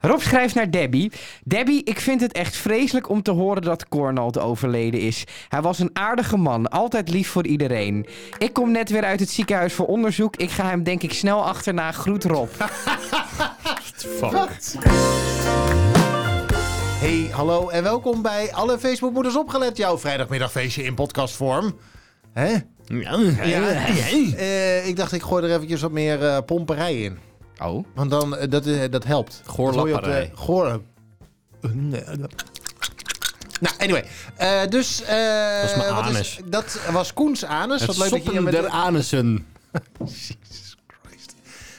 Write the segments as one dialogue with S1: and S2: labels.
S1: Rob schrijft naar Debbie. Debbie, ik vind het echt vreselijk om te horen dat Cornald overleden is. Hij was een aardige man, altijd lief voor iedereen. Ik kom net weer uit het ziekenhuis voor onderzoek. Ik ga hem denk ik snel achterna. Groet Rob.
S2: Fuck.
S3: Hey, hallo en welkom bij alle Facebookmoeders opgelet. Jouw vrijdagmiddagfeestje in podcastvorm. Hè?
S2: Ja.
S3: Eh, ik dacht, ik gooi er eventjes wat meer eh, pomperij in.
S1: Oh.
S3: Want dan, eh, dat, eh, dat helpt. Dat hoor je
S2: Goorlapperij.
S3: op de- Goor... Nou, anyway. Eh, dus... eh,
S2: Dat is mijn
S3: wat
S2: anus.
S3: dat was Koens anus.
S2: Het
S3: wat leuk dat je hier
S2: soppen der
S3: met...
S2: anussen.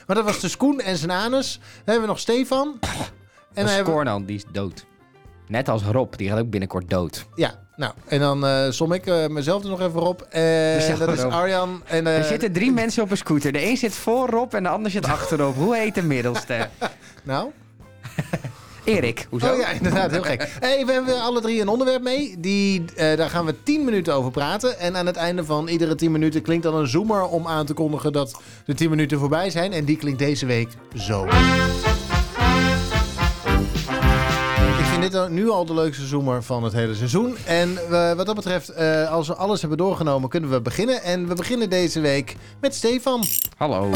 S3: Maar dat was dus Koen en zijn anus. Dan hebben we nog Stefan. En
S1: En
S3: dan hebben we...
S1: Cornald, die is dood. Net als Rob, die gaat ook binnenkort dood.
S3: Ja, nou. En dan eh, som ik eh, mezelf er nog even op. Eh,
S1: zeg
S3: dat
S1: maar
S3: is
S1: op.
S3: Arjan. En, eh,
S1: Er zitten drie mensen op een scooter. De een zit voor Rob en de ander zit achterop. Hoe heet de middelste?
S3: Nou?
S1: Erik. Hoezo?
S3: Oh ja, inderdaad, heel gek. Hey, we hebben alle drie een onderwerp mee. Die, eh, daar gaan we 10 minuten over praten. En aan het einde van iedere 10 minuten klinkt dan een zoomer om aan te kondigen dat de 10 minuten voorbij zijn. En die klinkt deze week zo. Ik vind dit al- nu al de leukste zoomer van het hele seizoen. En eh, wat dat betreft, eh, als we alles hebben doorgenomen, kunnen we beginnen. En we beginnen deze week met Stefan.
S1: Hallo.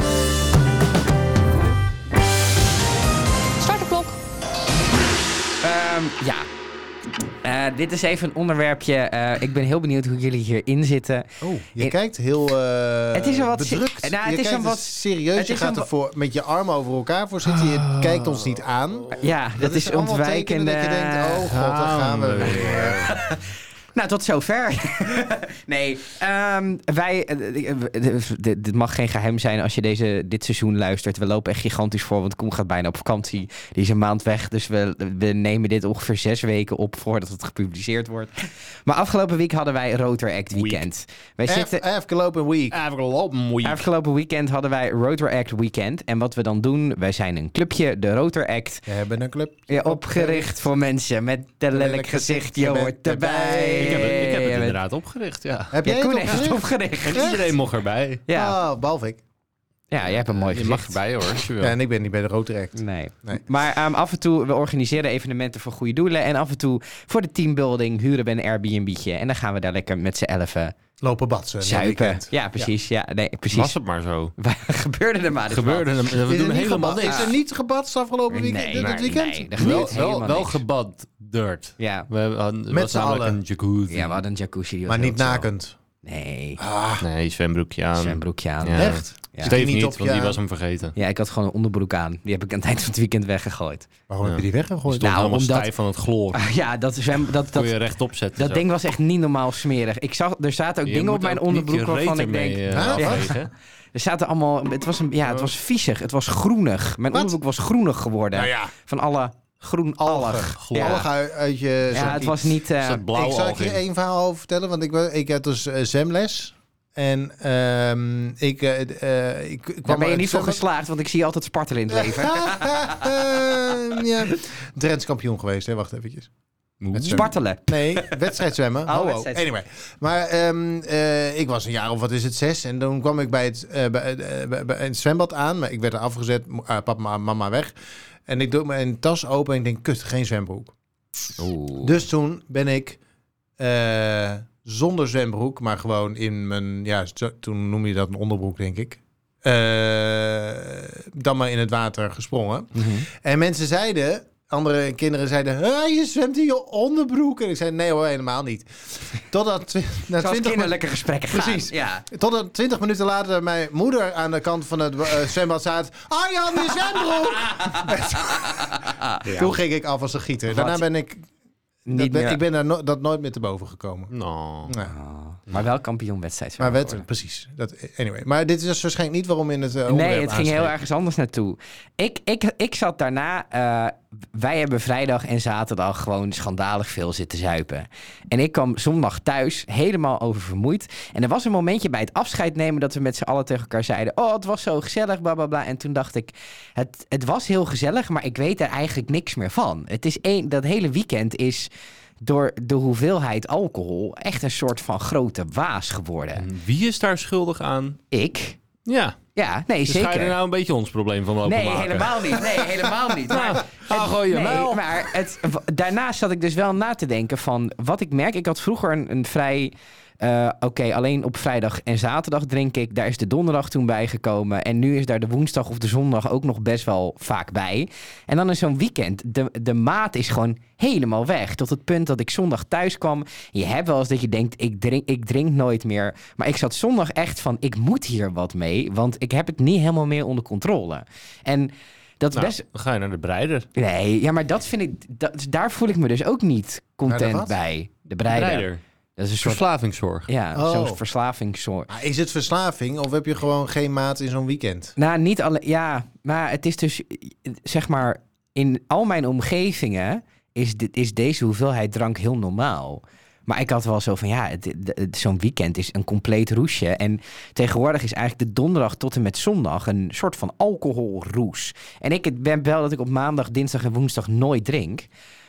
S4: Start de klok.
S1: Ehm, ja. Eh, dit is even een onderwerpje. Eh, ik ben heel benieuwd hoe jullie hierin zitten.
S3: Oh, je
S1: In-
S3: kijkt heel eh,
S1: Het is een wat
S3: bedrukt.
S1: se- nou, het
S3: je
S1: is
S3: kijkt
S1: een wat-
S3: serieus.
S1: het
S3: je
S1: is
S3: gaat
S1: een
S3: er
S1: wa-
S3: voor, met je armen over elkaar voor zitten. Je kijkt ons niet aan.
S1: Ja, Oh. dat, is,
S3: allemaal
S1: ontwijkende.
S3: tekenen Dat je denkt, oh god, daar gaan we weer.
S1: Nou, tot zover. nee, ehm, wij. eh, eh, eh, Dit dit mag geen geheim zijn als je deze, dit seizoen luistert. We lopen echt gigantisch voor, want Koen gaat bijna op vakantie. Die is een maand weg, dus we, we nemen dit ongeveer zes weken op voordat het gepubliceerd wordt. Maar afgelopen week hadden wij Rotor Act
S2: Week.
S1: Weekend. Wij zitten.
S3: Af- Afgelopen week.
S2: Even lopen, week.
S1: Afgelopen weekend hadden wij Rotor Act Weekend. En wat we dan doen, wij zijn een clubje, de Rotor Act.
S3: We hebben een club.
S1: Ja, opgericht voor mensen met een lelijk gezicht. Je hoort erbij.
S2: Ik heb, het, ik heb het inderdaad opgericht, ja.
S3: Heb
S1: Ja,
S3: jij
S1: Koen
S3: het
S1: heeft het
S3: opgericht?
S1: opgericht.
S2: En iedereen mocht erbij.
S1: Ja.
S3: Ah, behalve ik.
S1: ja, jij hebt een mooi
S2: Je mag
S1: gezicht.
S2: erbij hoor, als je wil.
S3: Ja, en ik ben niet bij de Rotaract.
S1: Nee.
S3: Nee.
S1: Maar ehm, af en toe, we organiseren evenementen voor goede doelen. En af en toe, voor de teambuilding, huren we een Airbnb'tje. En dan gaan we daar lekker met z'n elfen
S3: Lopen batsen. in het
S1: zuipen.
S3: weekend.
S1: Ja, precies. Ja, nee,
S2: Was
S1: precies.
S2: het maar zo.
S1: Gebeurde er maar. dit
S2: Gebeurde hem. We
S3: Is er
S2: doen
S3: niet
S2: helemaal
S3: gebad-
S2: niks.
S3: Is er niet gebatst afgelopen
S1: Nee,
S3: weekend? dit
S1: nee,
S3: dit weekend?
S1: nee, er gebeurt
S2: Wel, wel,
S1: helemaal
S2: wel
S1: niks.
S2: gebad dirt.
S1: Ja.
S2: We hadden, het
S3: Met
S2: was
S3: z'n
S2: namelijk
S3: allen.
S2: een jacuzzi.
S1: ja, we hadden een jacuzzi. die was
S3: Maar niet
S1: heel chill.
S3: nakend.
S1: Nee,
S2: Nee, zwembroekje aan.
S1: zijn broekje aan.
S2: Ja.
S3: Echt?
S1: Ehm, Ja.
S2: Steve
S3: Niet
S2: niet,
S3: op
S2: want
S3: je-
S2: die was hem vergeten.
S1: Ja, ik had gewoon een onderbroek aan. Die heb ik aan het eind van het weekend weggegooid.
S3: Waarom heb je die
S2: Die
S3: weggegooid?
S2: stond helemaal
S1: Nou, omdat-
S2: stijf van het chloor.
S1: Ah, Ja, dat, zwem, dat,
S2: Kon
S1: dat,
S2: je rechtop zetten.
S1: dat
S2: zo.
S1: ding was echt niet normaal smerig. Ik zag, er zaten ook
S2: Je
S1: dingen op
S2: moet
S1: mijn
S2: ook niet je eh.
S1: onderbroek waarvan
S2: reet
S1: ik denk...
S2: ermee, eh,
S3: Huh?
S1: Ja.
S2: afvegen.
S1: Er zaten allemaal... Het was, een, ja, het was viezig. Het was groenig. Mijn
S3: Wat?
S1: onderbroek was groenig geworden.
S3: Nou ja,
S1: Van alle groen allig.
S2: Algen.
S1: Ja.
S3: allig uit, uit je...
S1: Ja, het was niet... eh,
S2: Is dat blauw
S3: ik zal ik
S2: algen?
S3: je één verhaal over vertellen, want ik, wa- ik had dus eh, zwemles. En ehm, ik, eh, eh, ik kwam
S1: daar ben je
S3: uit
S1: niet voor
S3: het zwembad.
S1: geslaagd, want ik zie altijd spartelen in het leven.
S3: Ehm, ja. Drents kampioen geweest, hè? Wacht eventjes.
S2: Oeh.
S1: Spartelen.
S3: Nee, wedstrijd zwemmen.
S1: Oh,
S3: Ho, ho.
S1: wedstrijd.
S3: Anyway. Maar ehm, eh, ik was een jaar of wat is het, zes. En toen kwam ik bij het, eh, bij, eh, bij- bij het zwembad aan. Maar ik werd er afgezet. mo- eh, papa, mama weg. En ik doe mijn tas open en ik denk, kut, geen zwembroek.
S1: Oeh.
S3: Dus toen ben ik eh, zonder zwembroek, maar gewoon in mijn, ja, zo- toen noem je dat een onderbroek, denk ik. eh, dan maar in het water gesprongen. En mensen zeiden, andere kinderen zeiden, "Hé, je zwemt in je onderbroek. En ik zei, nee hoor, helemaal niet. Totdat twi- na
S1: Zoals
S3: 20 minuten...
S1: kinderlijke gesprekken gaan.
S3: Precies.
S1: Ja.
S3: Totdat 20 minuten later mijn moeder aan de kant van het eh, zwembad staat. Arjan, je zwembroek! Toen ging ik af als een gieter. Daarna ben ik
S1: Niet
S3: dat ben-
S1: meer.
S3: ik ben daar no- dat nooit meer te boven gekomen.
S2: No.
S3: Nee.
S1: Oh, Maar wel kampioenwedstrijd.
S3: Maar
S1: wel.
S3: wet, precies. Dat, anyway. Maar dit is dus waarschijnlijk niet waarom in het. eh,
S1: Nee,
S3: onderwerp
S1: het ging heel
S3: aanspreekt.
S1: ergens anders naartoe. Ik, ik, ik zat daarna. eh, wij hebben vrijdag en zaterdag gewoon schandalig veel zitten zuipen. En ik kwam zondag thuis helemaal oververmoeid. En er was een momentje bij het afscheid nemen dat we met z'n allen tegen elkaar zeiden: Oh, het was zo gezellig, bla bla bla. En toen dacht ik: het, het was heel gezellig, maar ik weet er eigenlijk niks meer van. Het is één, dat hele weekend is. Door de hoeveelheid alcohol
S2: Mm.
S1: echt een soort van grote waas geworden.
S2: Wie is daar schuldig aan?
S1: Ik?
S2: Ja.
S1: Ja, nee,
S2: Dus ga je
S1: zeker.
S2: er nou een beetje ons probleem van openmaken?
S1: Nee, helemaal niet. Nee, helemaal niet. Maar,
S2: ah,
S1: het-
S2: gooi je
S1: nee,
S2: wel.
S1: maar het, w- daarnaast zat ik dus wel na te denken van wat ik merk. Ik had vroeger een, een vrij. eh, Oké, alleen op vrijdag en zaterdag drink ik. Daar is de donderdag toen bijgekomen. En nu is daar de woensdag of de zondag ook nog best wel vaak bij. En dan in zo'n weekend, de, de maat is gewoon helemaal weg. Tot het punt dat ik zondag thuis kwam. Je hebt wel eens dat je denkt, ik drink, ik drink nooit meer. Maar ik zat zondag echt van, ik moet hier wat mee. Want ik heb het niet helemaal meer onder controle. En dat is
S2: Nou,
S1: best...
S2: Dan ga je naar de breider.
S1: Nee, ja, maar dat vind ik... dat- daar voel ik me dus ook niet
S3: Naar de
S1: content
S3: wat?
S1: bij. De breider. Dat is een soort...
S2: Verslavingszorg.
S1: ja,
S3: Oh.
S1: zo'n verslavingssoort.
S3: Maar is het verslaving of heb je gewoon geen maat in zo'n weekend?
S1: Nou, niet alleen. Ja, maar het is dus zeg maar in al mijn omgevingen is, dit, is deze hoeveelheid drank heel normaal. Maar ik had wel zo van ja, het- het- zo'n weekend is een compleet roesje. En tegenwoordig is eigenlijk de donderdag tot en met zondag een soort van alcoholroes. En ik het ben wel dat ik op maandag, dinsdag en woensdag nooit drink.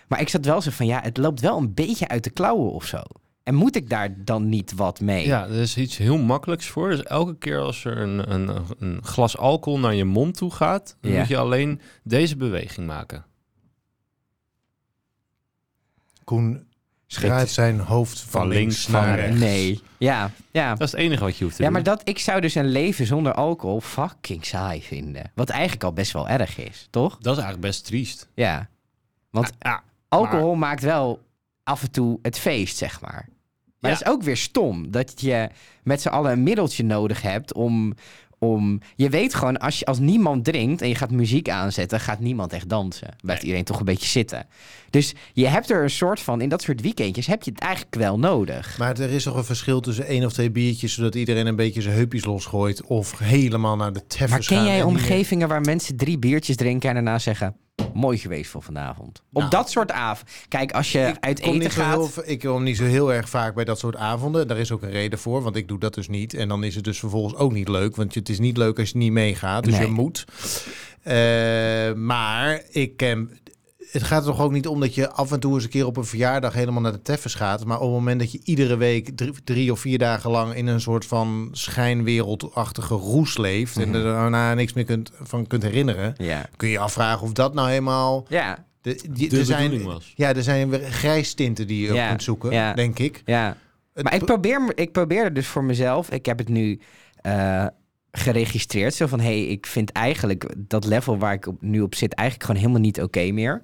S1: Maar ik zat wel zo van ja, het loopt wel een beetje uit de klauwen of zo. En moet ik daar dan niet wat mee?
S2: Ja, er is iets heel makkelijks voor. Dus elke keer als er een, een, een glas alcohol naar je mond toe gaat, dan
S1: Ja.
S2: moet je alleen deze beweging maken.
S3: Koen
S1: Schrikt.
S3: draait zijn hoofd van,
S2: Van
S3: links,
S2: links
S3: naar
S2: naar
S3: rechts.
S1: Nee. Ja, ja.
S2: Dat is het enige wat je hoeft te
S1: Ja,
S2: doen.
S1: maar dat, ik zou dus een leven zonder alcohol fucking saai vinden. Wat eigenlijk al best wel erg is, toch?
S2: dat is eigenlijk best triest.
S1: Ja. Want
S2: ja,
S1: alcohol maakt wel af en toe het feest, zeg maar. Maar
S2: Ja.
S1: dat is ook weer stom. Dat je met z'n allen een middeltje nodig hebt om... om je weet gewoon, als, je, als niemand drinkt en je gaat muziek aanzetten... gaat niemand echt dansen. Blijft iedereen toch een beetje zitten. Dus je hebt er een soort van... In dat soort weekendjes heb je het eigenlijk wel nodig.
S3: Maar er is toch een verschil tussen één of twee biertjes... zodat iedereen een beetje zijn heupjes losgooit... of helemaal naar de teffers
S1: Maar ken
S3: gaan
S1: jij
S3: en niet
S1: omgevingen waar mensen drie biertjes drinken en daarna zeggen: Mooi geweest voor vanavond? Op
S3: Nou,
S1: dat soort avond. Kijk, als je uit
S3: meer- Kom
S1: eten
S3: niet zo
S1: gaat.
S3: heel v- ik kom niet zo heel erg vaak bij dat soort avonden. Daar is ook een reden voor, want ik doe dat dus niet. En dan is het dus vervolgens ook niet leuk. Want je- het is niet leuk als je niet meegaat. Dus
S1: Nee.
S3: je moet. Eh, maar ik ken... Het gaat er toch ook niet om dat je af en toe eens een keer op een verjaardag helemaal naar de teffers gaat. Maar op het moment dat je iedere week drie, drie of vier dagen lang in een soort van schijnwereldachtige roes leeft.
S1: Mhm.
S3: En er daarna niks meer kunt, van kunt herinneren.
S1: Ja.
S3: Kun je je afvragen of dat nou helemaal...
S1: Ja,
S3: De, die-
S2: De
S3: er zijn,
S2: bedoeling was.
S3: Ja, er zijn weer grijstinten die je
S1: Ja,
S3: op kunt zoeken,
S1: ja.
S3: denk ik.
S1: ja.
S3: Het
S1: Maar ik
S3: pro-
S1: probeer, ik probeer het dus voor mezelf. Ik heb het nu eh, geregistreerd. Zo van: hé, hey, ik vind eigenlijk dat level waar ik op, nu op zit eigenlijk gewoon helemaal niet oké meer.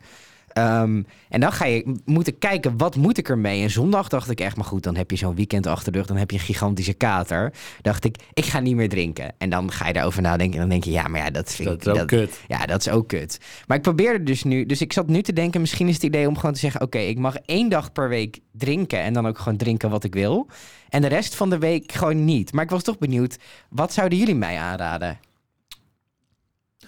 S1: Ehm, en dan ga je moeten kijken, wat moet ik ermee? En zondag dacht ik echt, maar goed, dan heb je zo'n weekend achter de rug. Dan heb je een gigantische kater. Dacht ik, ik ga niet meer drinken. En dan ga je daarover nadenken. En dan denk je, ja, maar ja, dat vind
S2: Dat
S1: ik...
S2: is ook kut.
S1: Ja, dat is ook kut. Maar ik probeerde dus nu... Dus ik zat nu te denken, misschien is het idee om gewoon te zeggen... Oké, ik mag één dag per week drinken. En dan ook gewoon drinken wat ik wil. En de rest van de week gewoon niet. Maar ik was toch benieuwd, wat zouden jullie mij aanraden?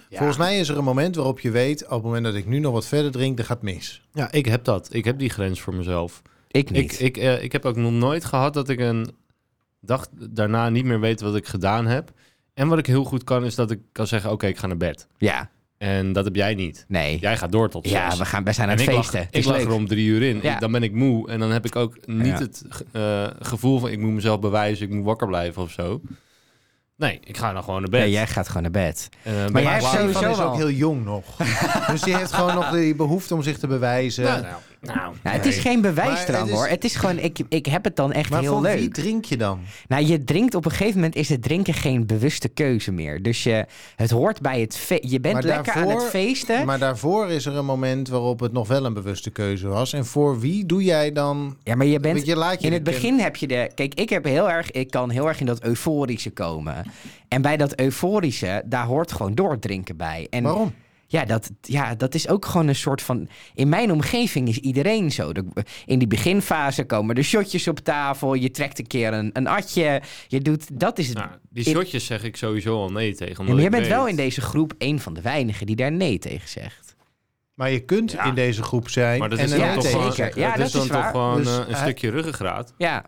S3: Volgens mij is er een moment waarop je weet, op het moment dat ik nu nog wat verder drink, dan gaat het mis.
S2: Ja, ik heb dat. Ik heb die grens voor mezelf.
S1: Ik niet.
S2: Ik, ik, eh, ik heb ook nog nooit gehad dat ik een dag daarna niet meer weet wat ik gedaan heb. En wat ik heel goed kan, is dat ik kan zeggen, oké, ik ga naar bed.
S1: Ja,
S2: En dat heb jij niet.
S1: nee.
S2: Jij gaat door tot zes.
S1: Ja, we, gaan, we zijn aan
S2: En
S1: het
S2: ik lag-
S1: feesten. Het
S2: ik
S1: is
S2: lag
S1: leuk.
S2: er om drie uur in.
S1: Ja.
S2: Ik- dan ben ik moe. En dan heb ik ook niet
S1: Ja.
S2: het ge- eh, gevoel van ik moet mezelf bewijzen, ik moet wakker blijven of zo. Nee, ik ga dan gewoon naar bed.
S1: Nee, jij gaat gewoon naar bed.
S2: En, eh, ben
S1: Maar
S2: ik
S1: jij hebt
S2: laat-
S1: sowieso
S3: Ivan is
S1: wel.
S3: ook heel jong nog. dus die heeft gewoon nog die behoefte om zich te bewijzen.
S2: Nou, nou, nou,
S1: Nou, het is
S2: nee.
S1: geen
S3: Maar
S1: bewijsdrang
S3: het is-
S1: hoor. Het is gewoon, ik, ik heb het dan echt
S3: maar
S1: heel
S3: van
S1: leuk.
S3: wie drink je dan?
S1: Nou, je drinkt op een gegeven moment is het drinken geen bewuste keuze meer. Dus je, het hoort bij het fe- Je bent
S3: Maar
S1: lekker aan
S3: daarvoor-
S1: het feesten.
S3: Maar daarvoor is er een moment waarop het nog wel een bewuste keuze was. En voor wie doe jij dan...
S1: ja, maar je bent
S3: Want je laat je
S1: in
S3: niet
S1: het begin heb je de. Kijk, ik heb heel erg. Ik kan heel erg in dat euforische komen. En bij dat euforische, daar hoort gewoon doordrinken bij. En
S3: Waarom?
S1: Ja dat, ja, dat is ook gewoon een soort van. In mijn omgeving is iedereen zo. De- In die beginfase komen de shotjes op tafel. Je trekt een keer een, een atje. Je doet. Dat is het.
S2: Nou, die
S1: Ik-
S2: shotjes zeg ik sowieso al nee tegen.
S1: Ja,
S2: omdat
S1: maar jij
S2: ik
S1: bent
S2: weet-
S1: wel in deze groep een van de weinigen die daar nee tegen zegt.
S3: Maar je kunt
S2: Ja.
S3: in deze groep zijn
S2: Maar dat
S3: en
S2: is
S3: er
S2: dan
S1: ja,
S3: niet
S2: toch
S3: tegen
S2: gewoon,
S1: zeker.
S3: zeggen.
S1: Ja,
S2: dat
S1: dat
S2: is dan
S1: is
S2: toch
S1: waar.
S2: gewoon
S3: Dus
S2: eh, een
S3: hij-
S2: stukje ruggengraat.
S1: Ja.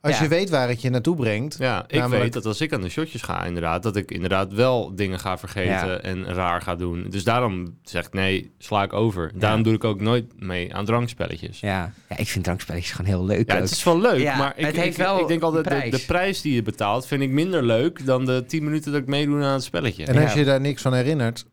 S3: Als
S1: Ja.
S3: je weet waar het je naartoe brengt.
S2: Ja, ik
S3: Namelijk-
S2: weet dat als ik aan de shotjes ga, inderdaad, dat ik inderdaad wel dingen ga vergeten
S1: Ja.
S2: en raar ga doen. Dus daarom zeg ik nee, sla ik over. Daarom doe ik ook nooit mee aan drankspelletjes. Ja,
S1: Ja. ja, ik vind drankspelletjes gewoon heel leuk. ook.
S2: het is wel leuk,
S1: Ja,
S2: maar ik,
S1: het heeft
S2: ik,
S1: wel
S2: ik denk altijd
S1: een
S2: de,
S1: prijs.
S2: de prijs die je betaalt vind ik minder leuk dan de 10 minuten dat ik meedoe aan het spelletje.
S3: En als
S1: Ja.
S3: je daar niks van herinnert,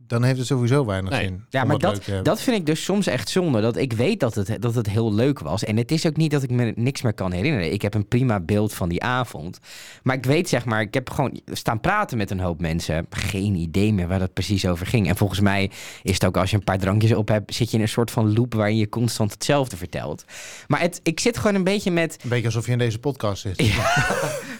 S3: dan heeft het sowieso weinig
S2: Nee.
S3: zin.
S1: Ja,
S3: om
S1: maar
S3: het leuk
S1: dat,
S3: te hebben.
S1: dat vind ik dus soms echt zonde. Dat ik weet dat het, dat het heel leuk was. En het is ook niet dat ik me niks meer kan herinneren. Ik heb een prima beeld van die avond. Maar ik weet zeg maar, ik heb gewoon staan praten met een hoop mensen. Geen idee meer waar dat precies over ging. En volgens mij is het ook als je een paar drankjes op hebt, zit je in een soort van loop waarin je constant hetzelfde vertelt. Maar het, ik zit gewoon een beetje met
S3: Een beetje alsof je in deze podcast zit.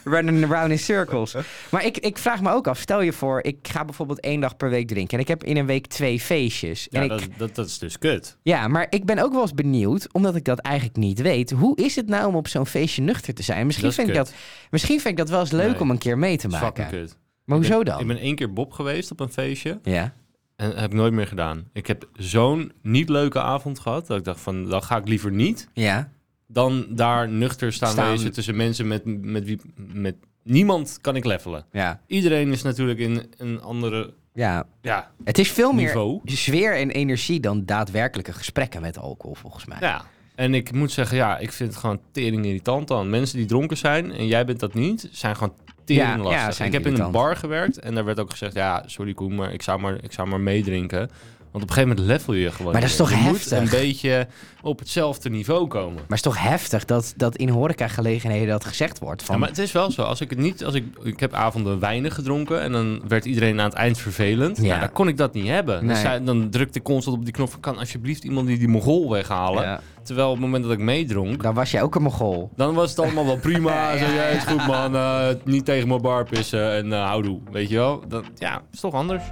S1: running around in circles. Maar ik, ik vraag me ook af, stel je voor, ik ga bijvoorbeeld één dag per week drinken. En ik heb in een week twee feestjes.
S2: Ja,
S1: en ik,
S2: dat, dat, dat is dus kut.
S1: Ja, maar ik ben ook wel eens benieuwd, omdat ik dat eigenlijk niet weet. Hoe is het nou om op zo'n feestje nuchter te zijn? Misschien,
S2: Dat is
S1: vind ik,
S2: kut.
S1: dat, misschien vind ik dat wel eens leuk
S2: Nee.
S1: om een keer mee te
S2: Dat is
S1: maken.
S2: fucking kut.
S1: Maar hoezo
S2: Ik ben-
S1: dan?
S2: Ik ben één keer Bob geweest op een feestje
S1: Ja.
S2: en heb nooit meer gedaan. Ik heb zo'n niet leuke avond gehad dat ik dacht van, dan ga ik liever niet.
S1: Ja.
S2: dan daar nuchter staan,
S1: Staan.
S2: wezen tussen mensen met, met wie met niemand kan ik levelen.
S1: Ja.
S2: Iedereen is natuurlijk in een andere
S1: Ja.
S2: ja,
S1: Het is veel meer
S2: niveau.
S1: sfeer en energie dan daadwerkelijke gesprekken met alcohol, volgens mij.
S2: Ja. En ik moet zeggen, ja, ik vind het gewoon tering irritant dan. Mensen die dronken zijn en jij bent dat niet, zijn gewoon tering
S1: Ja, ja,
S2: lastig.
S1: zijn
S2: ik heb in
S1: irritant.
S2: een bar gewerkt en daar werd ook gezegd, ja, sorry Koen, maar ik zou maar, ik zou maar meedrinken. Want op een gegeven moment level je gewoon.
S1: Maar dat is
S2: weer.
S1: toch
S2: je
S1: heftig?
S2: moet een beetje op hetzelfde niveau komen.
S1: Maar het is toch heftig dat, dat in horecagelegenheden dat gezegd wordt. Van,
S2: Ja, maar het is wel zo. Als ik het niet, als ik, ik heb avonden weinig gedronken en dan werd iedereen aan het eind vervelend.
S1: Ja.
S2: Ja. dan kon ik dat niet hebben. Dan
S1: Nee.
S2: zei- dan drukte ik constant op die knop van kan alsjeblieft iemand die die mogol weghalen.
S1: Ja.
S2: Terwijl op het moment dat ik meedronk,
S1: Dan was jij ook een mogol.
S2: dan was het allemaal wel prima. Zo, ja, is goed man, eh, niet tegen mijn bar pissen en eh, houdoe. Weet je wel? Dat, ja, is toch anders.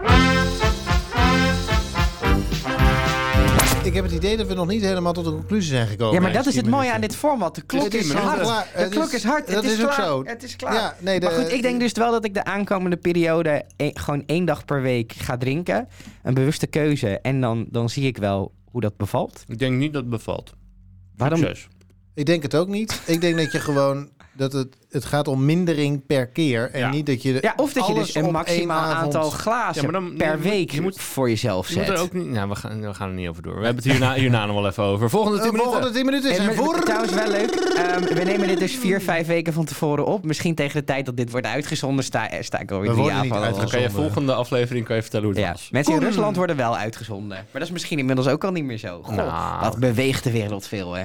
S3: Ik heb het idee dat we nog niet helemaal tot een conclusie zijn gekomen.
S1: ja, maar dat is
S3: 10
S1: het mooie aan
S3: minuten.
S1: dit format. De klok
S3: Het is
S1: is
S3: al
S1: hard.
S3: klaar.
S1: De
S3: Het
S1: klok
S3: is-
S1: is hard. Het
S3: dat
S1: is
S3: is ook
S1: klaar.
S3: zo.
S1: Het is klaar.
S3: Ja, nee, de-
S1: maar goed, ik denk dus wel dat ik de aankomende periode e- gewoon één dag per week ga drinken. Een bewuste keuze. En dan, dan zie ik wel hoe dat bevalt.
S2: Ik denk niet dat het bevalt.
S1: Waarom?
S2: Succes.
S3: Ik denk het ook niet. Ik denk dat je gewoon dat het, het gaat om mindering per keer en
S2: Ja.
S3: niet dat je de-
S1: Ja, of dat je
S3: alles
S1: dus een
S3: op
S1: maximaal
S3: één avond- Eh,
S1: aantal glazen
S2: Ja, maar dan-
S1: per
S2: je moet-
S1: week
S2: je moet-
S1: voor jezelf
S2: Je moet
S1: zet.
S2: er ook niet... Nou, we gaan, we gaan er niet over door. We hebben het hierna, hierna nog wel even over. Volgende
S3: De
S1: Eh,
S2: 10 minuten.
S3: volgende 10 minuten
S1: En
S3: zijn
S1: met-
S3: voor.
S1: Trouwens wel leuk. Ehm, we nemen dit dus vier, vijf weken van tevoren op. Misschien tegen de tijd dat dit wordt uitgezonden sta, eh, sta ik alweer
S3: We
S1: drie
S3: worden
S1: jaar
S3: niet
S1: van.
S3: uitgezonden.
S2: Kan je volgende aflevering kan je vertellen hoe het
S1: Ja,
S2: was?
S1: mensen in Rusland worden wel uitgezonden. Maar dat is misschien inmiddels ook al niet meer zo. Goh,
S2: Nou.
S1: Wat beweegt de wereld veel, hè?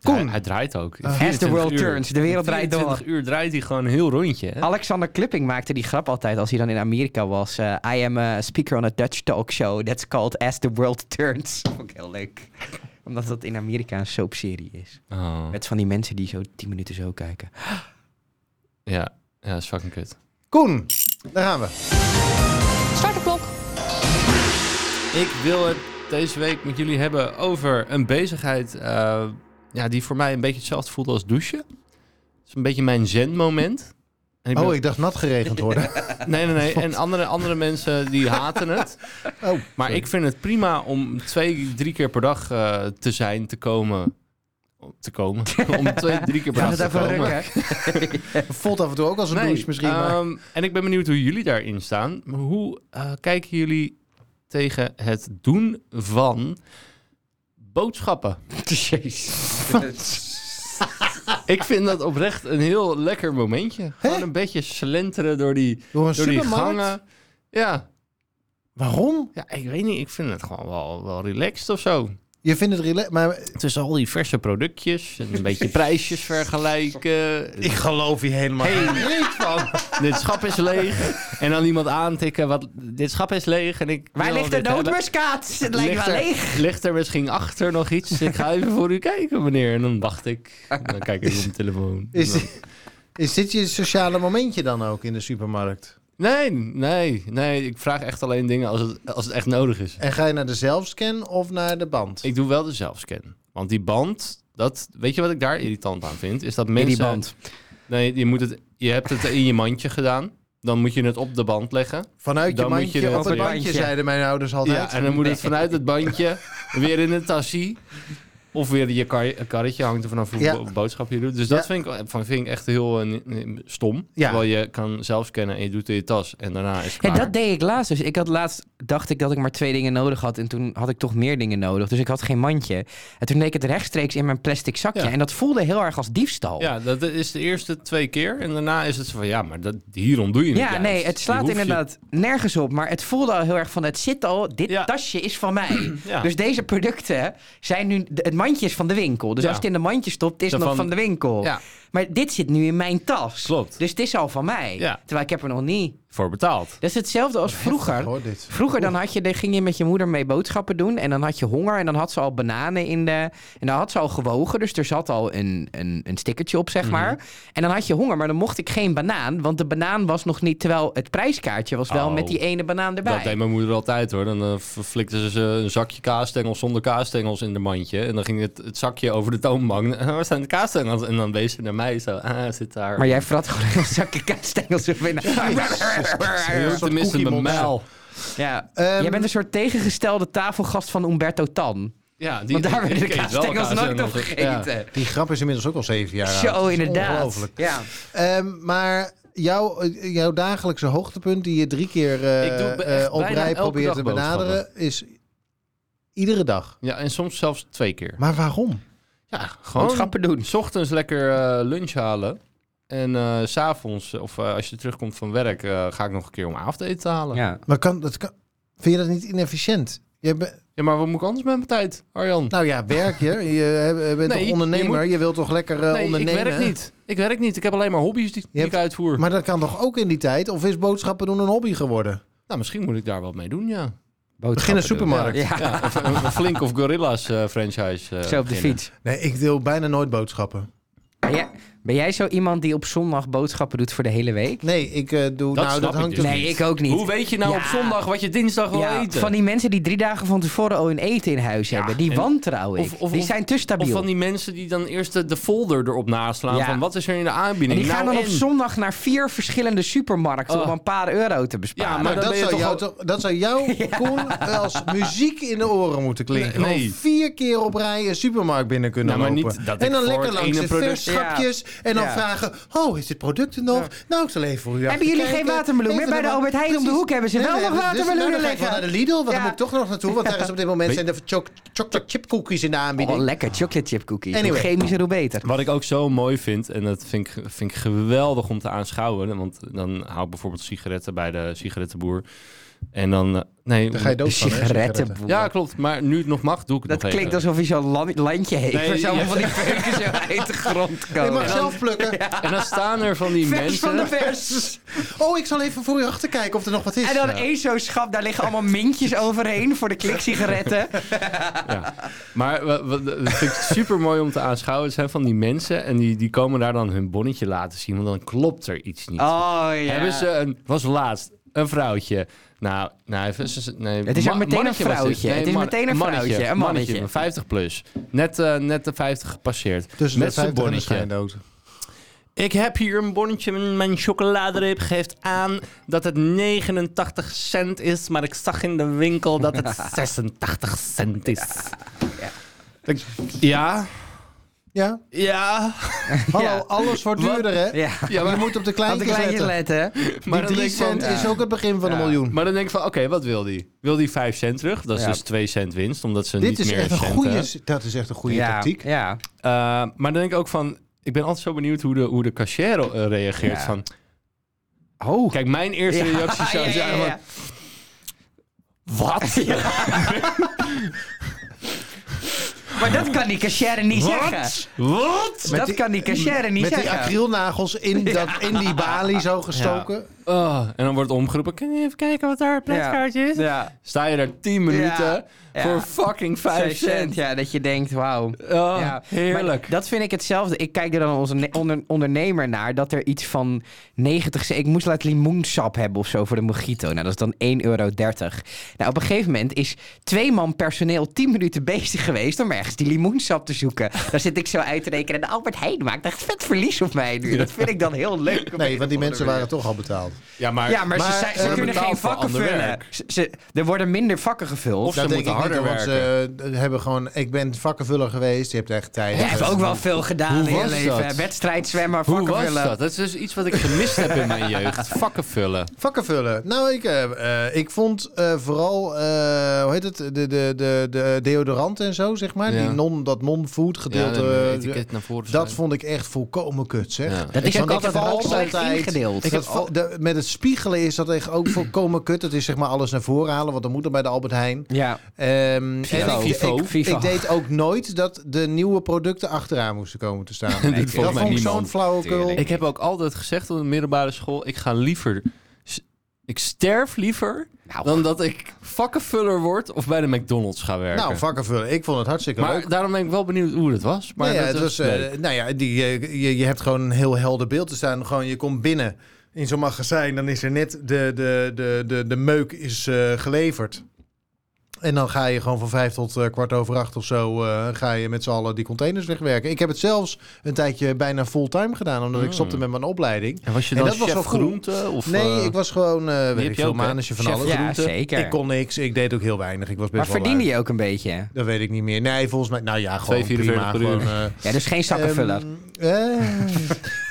S2: Hij-
S1: Koen.
S2: Hij, draait ook.
S1: As the world
S2: 24 uur.
S1: turns, de wereld draait door.
S2: 24 uur draait hij gewoon een heel rondje. Hè?
S1: Alexander Klupping maakte die grap altijd als hij dan in Amerika was. Eh, I am a speaker on a Dutch talk show that's called As the World Turns. Vond ik heel leuk. Omdat dat in Amerika een soapserie is.
S2: Oh,
S1: Met van die mensen die zo tien minuten zo kijken.
S2: ja. ja, dat is fucking kut.
S3: Koen, daar gaan we.
S4: Start de klok.
S2: Ik wil het deze week met jullie hebben over een bezigheid eh, ja, die voor mij een beetje hetzelfde voelt als douchen. Het is een beetje mijn zen-moment. En ik ben-
S3: Oh, ik dacht nat geregend worden.
S2: Nee, nee, nee. En andere, andere mensen die haten het.
S3: Oh,
S2: Maar ik vind het prima om twee, drie keer per dag eh, te zijn, te komen. Te komen. om twee, drie keer per
S1: Gaat het
S2: dag te
S1: even
S2: komen.
S1: rukken?
S3: voelt af en toe ook als een douche misschien.
S1: eh,
S3: maar
S2: ehm, en ik ben benieuwd hoe jullie daarin staan. Maar Hoe eh, kijken jullie tegen het doen van boodschappen?
S1: Dus-
S2: ik vind dat oprecht een heel lekker momentje. Gewoon
S3: Hè?
S2: een beetje slenteren door die,
S3: door een
S2: door die
S3: supermarkt.
S2: gangen. Ja.
S3: Waarom?
S2: ja, ik weet niet. Ik vind het gewoon wel, wel relaxed of zo.
S3: Je vindt het relaxed, maar
S2: Tussen al die verse productjes en een beetje prijsjes vergelijken.
S3: ik geloof je helemaal.
S2: Hey, niet van. dit schap is leeg. En dan iemand aantikken. Wat, dit schap is leeg. En ik
S1: Waar
S2: wil
S1: ligt de
S2: dit hebben.
S1: noodmuskaat? Het lijkt wel
S2: er,
S1: leeg.
S2: ligt er misschien achter nog iets? Ik ga even voor u kijken, meneer. En dan wacht ik. En dan kijk ik op mijn telefoon. En dan-
S3: Is, is dit je sociale momentje dan ook in de supermarkt?
S2: Nee, nee, nee. Ik vraag echt alleen dingen als het, als het echt nodig is.
S3: En ga je naar de zelfscan of naar de band?
S2: Ik doe wel de zelfscan. Want die band, dat, weet je wat ik daar irritant aan vind? Is dat mensen...
S1: In die band.
S2: Nee, je, moet het, je hebt het in je mandje gedaan. Dan moet je het op de band leggen.
S3: Vanuit je
S2: Dan moet
S3: mandje
S2: je dat
S3: op het
S2: weer-
S3: bandje, zeiden mijn ouders altijd.
S2: Ja, en dan moet het vanuit het bandje weer in een tassie. Of weer je kar- karretje hangt er vanaf
S3: Ja.
S2: hoeveel boodschap je doet. Dus dat
S3: Ja.
S2: vind, ik, van, vind ik echt heel eh, n- n- stom.
S3: Ja.
S2: Terwijl je kan zelf scannen en je doet het in je tas. En daarna is het
S1: Ja,
S2: klaar.
S1: dat deed ik laatst. Dus ik had laatst, dacht ik dat ik maar twee dingen nodig had. En toen had ik toch meer dingen nodig. Dus ik had geen mandje. En toen deed ik het rechtstreeks in mijn plastic zakje.
S2: Ja.
S1: En dat voelde heel erg als diefstal.
S2: Ja, dat is de eerste twee keer. En daarna is het zo van, ja, maar dat, hierom doe je het
S1: Ja,
S2: juist.
S1: nee, het
S2: Je
S1: slaat
S2: hoeft dus je-
S1: inderdaad nergens op. Maar het voelde al heel erg van, het zit al, dit
S2: Ja.
S1: tasje is van mij.
S2: Ja.
S1: Dus deze producten zijn nu, de- het mandje is van de winkel. Dus
S2: Ja.
S1: als het in de mandje stopt, is
S2: Dan
S1: het nog
S2: van-
S1: van de winkel.
S2: Ja.
S1: Maar dit zit nu in mijn tas.
S2: Klopt.
S1: Dus het is al van mij.
S2: Ja.
S1: Terwijl ik heb er nog niet.
S2: voor betaald.
S1: Dat is hetzelfde als vroeger.
S3: Hoor dit.
S1: Vroeger dan had je, dan ging je met je moeder mee boodschappen doen. En dan had je honger. En dan had ze al bananen in de. En dan had ze al gewogen. Dus er zat al een, een, een stickertje op, zeg maar. En dan had je honger. Maar dan mocht ik geen banaan. Want de banaan was nog niet. Terwijl het prijskaartje was wel
S2: Oh.
S1: met die ene banaan
S2: Dat deed
S1: erbij.
S2: mijn moeder altijd hoor. Dan eh, v- flikte ze een zakje kaasstengels zonder kaasstengels in de mandje. En dan ging het, het zakje over de toonbank. En Waar zijn de kaasstengels? En dan wees ze naar mij zo. Ah, zit daar.
S1: Maar jij vrat gewoon heel zakken kaasstengels op in.
S2: Je
S3: Een
S2: hoeft
S3: soort
S2: tenminste
S3: cookie
S2: een
S3: monster.
S2: mijl.
S1: Ja.
S3: Ehm,
S1: jij bent een soort tegengestelde tafelgast van Umberto Tan.
S2: Ja, die,
S1: Want daar
S2: ik
S1: werden de
S2: eet wel
S1: kaasstengels nooit op
S2: kaasstengels. Ja.
S1: gegeten.
S3: Die grap is inmiddels ook al zeven jaar oud.
S1: Zo,
S3: Dat is
S1: inderdaad.
S3: Ongelooflijk.
S1: Ja.
S3: Ehm, maar jouw, eh, jouw dagelijkse hoogtepunt die je drie keer eh,
S2: Ik doe be- echt
S3: eh, op
S2: bijna
S3: rij
S2: elke
S3: probeert
S2: dag
S3: te benaderen, is iedere dag.
S2: Ja, en soms zelfs twee keer.
S3: Maar waarom?
S2: Ja, gewoon
S1: Boodschappen doen.
S2: S ochtends lekker eh, lunch halen. En eh, s s'avonds, of eh, als je terugkomt van werk, eh, ga ik nog een keer om avondeten halen. Ja.
S1: Ja.
S3: Maar kan, dat kan, vind je dat niet inefficiënt? Je bent-
S2: maar wat moet ik anders met mijn tijd, Arjan?
S3: nou ja, werk je. Je eh, bent
S2: Nee,
S3: toch
S2: je
S3: ondernemer. Je,
S2: moet-
S3: wilt toch lekker eh,
S2: nee, ik
S3: ondernemen?
S2: werk niet. Ik werk niet. Ik heb alleen maar hobby's die, die
S3: hebt-
S2: ik uitvoer.
S3: Maar dat kan toch ook in die tijd? Of is boodschappen doen een hobby geworden?
S2: Nou, misschien moet ik daar wat mee doen, ja.
S1: Boodschappen
S3: een supermarkt.
S1: doen. Ja.
S2: ja of een, een Flink of Gorillas eh, franchise. eh,
S1: Zo op de
S2: beginnen.
S1: fiets.
S3: Nee, ik deel bijna nooit boodschappen.
S1: Ben jij, ben jij zo iemand die op zondag boodschappen doet voor de hele week?
S3: Nee, ik eh, doe...
S2: Dat
S3: nou,
S2: snap
S3: dat
S2: ik
S3: hangt
S2: dus
S3: er-
S1: Nee, ik ook niet.
S2: Hoe weet je nou
S1: Ja.
S2: op zondag wat je dinsdag wil
S1: Ja,
S2: eten?
S1: van die mensen die drie dagen van tevoren al hun eten in huis hebben, die
S2: en-
S1: wantrouwen ik.
S2: of- of-
S1: die
S2: of-
S1: zijn te stabiel.
S2: Of van die mensen die dan eerst de, de folder erop naslaan
S1: Ja.
S2: van wat is er in de
S1: en
S2: aanbieding?
S1: die gaan
S2: Nou,
S1: dan op
S2: en?
S1: zondag naar vier verschillende supermarkten
S2: Oh.
S1: om een paar euro te besparen.
S2: Ja, maar
S3: Nou,
S2: Ah, dan
S3: dat,
S2: ben je
S3: zou
S2: toch
S3: jou,
S2: al-
S3: toch- dat zou jou, Koen, als muziek in de oren moeten klinken.
S2: Nee.
S3: Gewoon vier keer op rij een supermarkt binnen kunnen
S2: Nou, maar
S3: lopen.
S2: niet dat
S3: en
S2: ik
S3: dan
S2: voor
S3: lekker
S2: het
S3: langs
S2: ene
S3: de
S2: product-
S3: verschapjes. En dan
S1: Ja.
S3: vragen, oh, is dit product er nog? Nou, ik zal even voor u
S1: Hebben jullie geen watermeloen meer? Bij de Albert Heijn om de hoek hebben ze wel nog
S3: dus-
S1: watermeloenen
S3: liggen. nou, Ik wel naar
S1: liggen.
S3: de Lidl, want
S1: Ja.
S3: daar moet ik toch nog naartoe. Want daar is op dit moment zijn de choc- chocolate chip cookies in de
S1: Oh,
S3: aanbieding.
S1: lekker chocolate chip cookies. Hoe
S3: Anyway.
S1: chemischer, hoe beter.
S2: Wat ik ook zo mooi vind, en dat vind ik, vind ik geweldig om te aanschouwen. Want dan hou ik bijvoorbeeld sigaretten bij de sigarettenboer. En dan. eh, Nee,
S3: Daar ga je
S1: De
S3: dood van, hè,
S1: sigarettenboer.
S2: ja, klopt. Maar nu het nog mag, doe ik het
S1: dat
S2: nog
S1: klinkt
S2: even.
S1: alsof hij zo'n lan- landje heeft.
S2: Nee,
S1: waar zo
S2: ja.
S1: van die veuken zo uit de grond
S3: Je mag
S1: komen.
S3: zelf plukken.
S2: En dan staan er van die
S1: Vers
S2: mensen.
S1: van de vers.
S3: Oh, ik zal even voor u achterkijken of er nog wat is.
S1: En dan e-
S3: Ja.
S1: één zo'n schap, daar liggen allemaal mintjes overheen voor de kliksigaretten.
S2: Ja. Maar wa- wa- dat vind ik super mooi om te aanschouwen. Het zijn van die mensen en die, die komen daar dan hun bonnetje laten zien. Want dan klopt er iets niet.
S1: Oh ja.
S2: Hebben ze een. Was laatst een vrouwtje. Nou, nou even. ze- Nee,
S1: Het is
S2: ma-
S1: ook meteen een
S2: mannetje was dit.
S1: vrouwtje. Het is
S2: man-
S1: meteen een vrouwtje, een mannetje.
S2: 50 plus. Net, eh, net de 50 gepasseerd.
S3: Tussen
S2: met
S3: de
S2: zijn
S3: 50 en de
S2: bonnetje.
S3: schijndood.
S2: Ik heb hier een bonnetje. en Mijn chocoladereep geeft aan dat het 89 cent is. Maar ik zag in de winkel dat het 86 cent is. Ik- Ja.
S3: Ja,
S2: Ja.
S3: hallo,
S1: Ja.
S3: alles wordt
S2: Wat?
S3: duurder, hè?
S1: Ja,
S2: ja
S3: Je
S2: maar,
S3: moet op de
S1: had ik
S3: kleintjes
S1: kleintjes
S3: letten.
S1: letten.
S2: maar
S3: die
S2: dan
S3: 3
S2: denk ik van,
S3: cent
S2: ja.
S3: is ook het begin van een miljoen.
S2: Maar dan denk ik van, oké, wat wil die? Wil die 5 cent terug? Dat is
S1: Ja.
S2: dus 2 cent winst, omdat ze
S3: Dit
S2: niet
S3: is
S2: meer
S3: echt een
S2: centen
S3: goede,
S2: hebben.
S3: dat is echt een goede
S1: ja,
S3: tactiek.
S1: Ja.
S2: Eh, maar dan denk ik ook van, ik ben altijd zo benieuwd hoe de, hoe de cashier eh, reageert.
S1: Ja.
S2: Van,
S1: Oh.
S2: kijk, mijn eerste reactie zou zijn, van,
S1: Wat? maar dat kan die cashier niet zeggen.
S2: wat? Wat?
S1: dat
S3: die-
S1: kan die cashier niet
S3: Met die
S1: zeggen.
S3: acrylnagels in, dat, in die balie zo gestoken.
S2: Oh, en dan wordt omgeroepen, kun je even kijken wat daar het prijskaartje is?
S1: ja.
S2: Sta je daar 10 minuten
S1: Ja.
S2: voor fucking 5
S1: 5
S2: cent.
S1: Ja, dat je denkt, wauw.
S2: Oh,
S1: Ja,
S2: heerlijk.
S1: maar dat vind ik hetzelfde. Ik kijk er dan als een onder, ondernemer naar dat er iets van 90 cent. Ik moest laat limoensap hebben of zo voor de mojito. Nou, dat is dan 1,30 euro. Nou, op een gegeven moment is twee man personeel 10 minuten bezig geweest om ergens die limoensap te zoeken. Daar zit ik zo uit te rekenen. En Albert Heijn maakt echt vet verlies op mij nu. Dat vind ik dan heel leuk.
S3: Nee, want die mensen waren toch al betaald. Ja, maar,
S1: Ja, maar, ze,
S3: maar,
S1: zijn- ze
S3: eh,
S1: kunnen
S2: betaald
S1: geen
S2: voor
S1: vakken
S2: ander
S1: vullen.
S2: werk.
S1: Ze- ze- er worden minder vakken gevuld.
S2: Of ze
S3: dat denk
S2: moeten
S3: ik
S2: harder
S3: niet, want ze eh, hebben gewoon... Ik ben vakkenvuller geweest, je hebt echt tijd.
S1: Jij hebt ook wel veel gedaan
S2: Hoe
S1: in je
S2: was
S1: leven.
S2: dat?
S1: Wedstrijd, zwemmen,
S2: Hoe
S1: vakken
S2: was
S1: vullen.
S2: dat? Dat is dus iets wat ik gemist heb in mijn jeugd. Vakken vullen.
S3: Vakkenvullen. Nou, ik, eh, eh, ik vond eh, vooral, eh, hoe heet het, de, de, de, de deodorant en zo, zeg maar.
S2: Ja.
S3: Die non, dat non-food gedeelte.
S2: een
S3: eh,
S2: etiket naar voren
S3: dat
S2: schuiven.
S3: vond ik echt volkomen kut, zeg.
S2: Ja.
S1: Dat is
S3: Ik
S1: ook
S3: vond
S1: altijd
S3: dat
S1: al
S3: altijd-
S1: ingedeeld.
S3: Ik had al- de- met het spiegelen is dat echt ook volkomen kut. Het is zeg maar alles naar voren halen, want dat moet er bij de Albert Heijn.
S1: ja.
S3: Ehm,
S1: Vivo.
S3: en ik,
S2: Vivo.
S3: ik,
S1: Vivo.
S3: ik deed ook nooit dat de nieuwe producten achteraan moesten komen te staan.
S2: Dit
S1: Nee,
S2: volgens
S3: dat
S2: mij
S3: vond ik
S2: niemand.
S3: zo'n flauwekul.
S1: Tuurlijk.
S2: Ik heb ook altijd gezegd op de middelbare school: ik ga liever. s- Ik sterf liever
S1: Nou.
S2: dan dat ik vakkenvuller word of bij de McDonald's ga werken.
S3: Nou, vakkenvullen. Ik vond het hartstikke leuk.
S2: maar daarom ben ik wel benieuwd hoe dat was. Maar
S3: Maar ja,
S2: dat
S3: het was,
S2: was leuk.
S3: eh, nou ja, die, eh, je, je hebt gewoon een heel helder beeld te staan. Gewoon, je komt binnen in zo'n magazijn, dan is er net de, de, de, de, de meuk is eh, geleverd. En dan ga je gewoon van vijf tot eh, kwart over acht of zo, eh, ga je met z'n allen die containers wegwerken. Ik heb het zelfs een tijdje bijna fulltime gedaan, omdat ik stopte met mijn opleiding.
S2: en was je
S3: en
S2: dan
S3: dat was
S2: chef
S3: wel cool.
S2: groente? Hmm. Of,
S3: Nee,
S2: eh,
S3: ik was gewoon, eh
S2: heb
S3: weet ik
S2: je
S3: veel,
S2: ook, hè?
S3: manetje van
S2: Chef
S3: alles.
S1: Ja, zeker.
S3: Ik kon niks, ik deed ook heel weinig. Ik was best
S1: maar
S3: wel
S1: verdiende
S3: lui.
S1: je ook een beetje?
S3: Dat weet ik niet meer. Nee, volgens mij, nou ja, gewoon
S2: 2,44
S3: prima.
S2: per uur.
S3: Gewoon, eh,
S1: Ja, dus geen zakkenvuller.
S3: Ehm,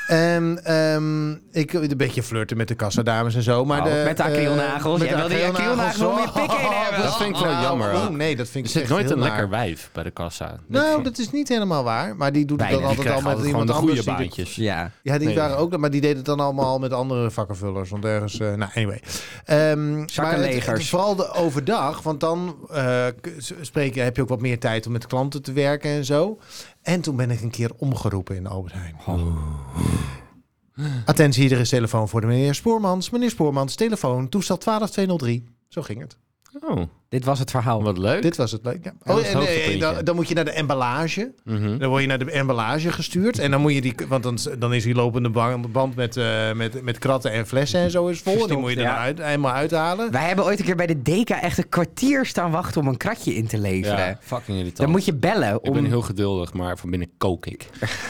S3: eh, ehm, ehm, ik wil een beetje flirten met de kassadames en zo. Maar
S1: Oh,
S3: de,
S1: met de acrylnagels.
S3: eh,
S1: Jij
S3: met de
S1: wilde die acrylnagels om je pik heen hebben. Oh,
S2: Dat vind ik wel
S3: Nou,
S2: jammer
S3: oeh,
S2: ook.
S3: nee, dat vind
S2: Er
S3: ik
S2: zit
S3: echt
S2: nooit
S3: heel
S2: een
S3: naar.
S2: lekker wijf bij de kassa.
S3: Nou, dat is niet helemaal waar. Maar die doet het dan
S1: Bijna.
S2: die
S3: altijd al
S2: krijgen
S3: met
S2: altijd gewoon
S3: iemand
S2: de goede
S3: anders. die de-
S2: baantjes.
S1: Dus Ja.
S3: ja, die
S2: Nee.
S3: waren ook... Maar die deed het dan allemaal met andere vakkenvullers. Want ergens... eh, nou, anyway. Ehm, maar het-
S1: Zakkenlegers.
S3: het- vooral de overdag. Want dan eh, k- s- spreek, je- heb je ook wat meer tijd om met klanten te werken en zo. En toen ben ik een keer omgeroepen in Albert Heijn. Attentie, er is telefoon voor de meneer Spoormans. Meneer Spoormans, telefoon, toestel 12203. Zo ging het.
S2: Oh,
S1: Dit was het verhaal.
S2: wat leuk.
S3: Dit was het leuk. Ja.
S2: dat
S3: Oh,
S2: is
S3: en,
S2: het
S3: eh,
S2: hoogtepuntje.
S3: dan, dan moet je naar de emballage.
S2: Mhm.
S3: Dan word je naar de emballage gestuurd. En dan moet je die. Want dan, dan is die lopende ban- band met, eh, met, met kratten en flessen en zo is vol. En die
S1: Verstopt,
S3: moet je dan
S1: ja.
S3: uit, eenmaal uithalen.
S1: Wij hebben ooit een keer bij de DK echt een kwartier staan wachten om een kratje in te leveren.
S2: Ja, fucking irritant.
S1: Dan moet je bellen
S2: Ik
S1: om...
S2: ben heel geduldig, maar van binnen kook ik.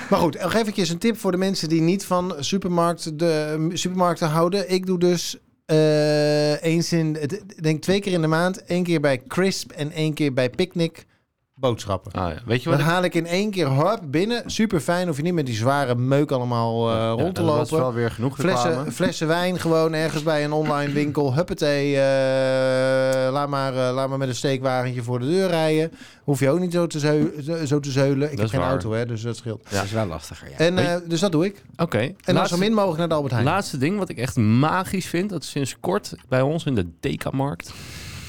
S3: Maar goed, nog eventjes een tip voor de mensen die niet van supermarkt, de, supermarkten houden. Ik doe dus eh, eens in, ik denk twee keer in de maand, één keer bij Crisp en één keer bij Picnic boodschappen.
S2: Ah, ja. Weet je
S3: Dan
S2: wat? ik-
S3: haal ik in één keer hop binnen. Super fijn, hoef je niet met die zware meuk allemaal eh,
S2: Ja,
S3: rond te
S2: Dat was
S3: lopen.
S2: wel weer genoeg reclame.
S3: Flessen, flessen wijn gewoon ergens bij een online winkel. Huppatee, eh, laat, maar, eh, laat maar met een steekwagentje voor de deur rijden. Hoef je ook niet zo te, zeu- zo- zo te zeulen. Ik
S2: Dat
S3: heb
S2: is
S3: geen
S2: waar.
S3: auto, hè, dus dat scheelt.
S1: Dat is wel lastiger, ja.
S3: En,
S2: Weet je-
S3: eh, dus dat doe ik.
S2: Oké.
S3: En dan
S2: laatste-
S3: zo min mogelijk naar de Albert Heijn.
S2: Laatste ding wat ik echt magisch vind, dat is sinds kort bij ons in de Dekamarkt.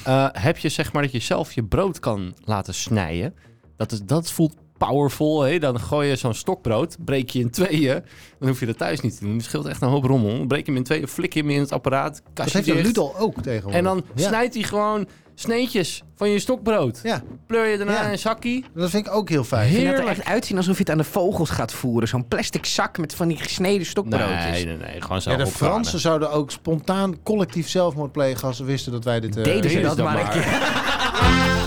S2: eh, heb je zeg maar dat je zelf je brood kan laten snijden. Dat, is, dat voelt powerful. Hè? Dan gooi je zo'n stokbrood, breek je in tweeën. Dan hoef je dat thuis niet te doen. Dat scheelt echt een hoop rommel. Breek hem in tweeën, flik hem in het apparaat.
S3: dat
S2: Kastje
S3: heeft de
S2: dicht.
S3: Ludel ook tegenwoordig.
S2: En dan
S3: ja.
S2: snijdt hij gewoon sneetjes van je stokbrood.
S3: Ja,
S2: Pleur je daarna
S3: Ja.
S2: in een zakkie.
S3: dat vind ik ook heel fijn.
S1: Ik vind dat er
S2: heerlijk.
S1: echt uitzien alsof je het aan de vogels gaat voeren. Zo'n plastic zak met van die gesneden stokbroodjes.
S2: Nee, nee, nee. Gewoon zo
S3: Ja, de
S2: opgranen.
S3: Fransen zouden ook spontaan collectief zelfmoord plegen als ze wisten dat wij dit... eh,
S1: Deden ze
S2: Deden
S1: dat
S2: ze dat
S1: maar een
S2: maar.
S1: keer.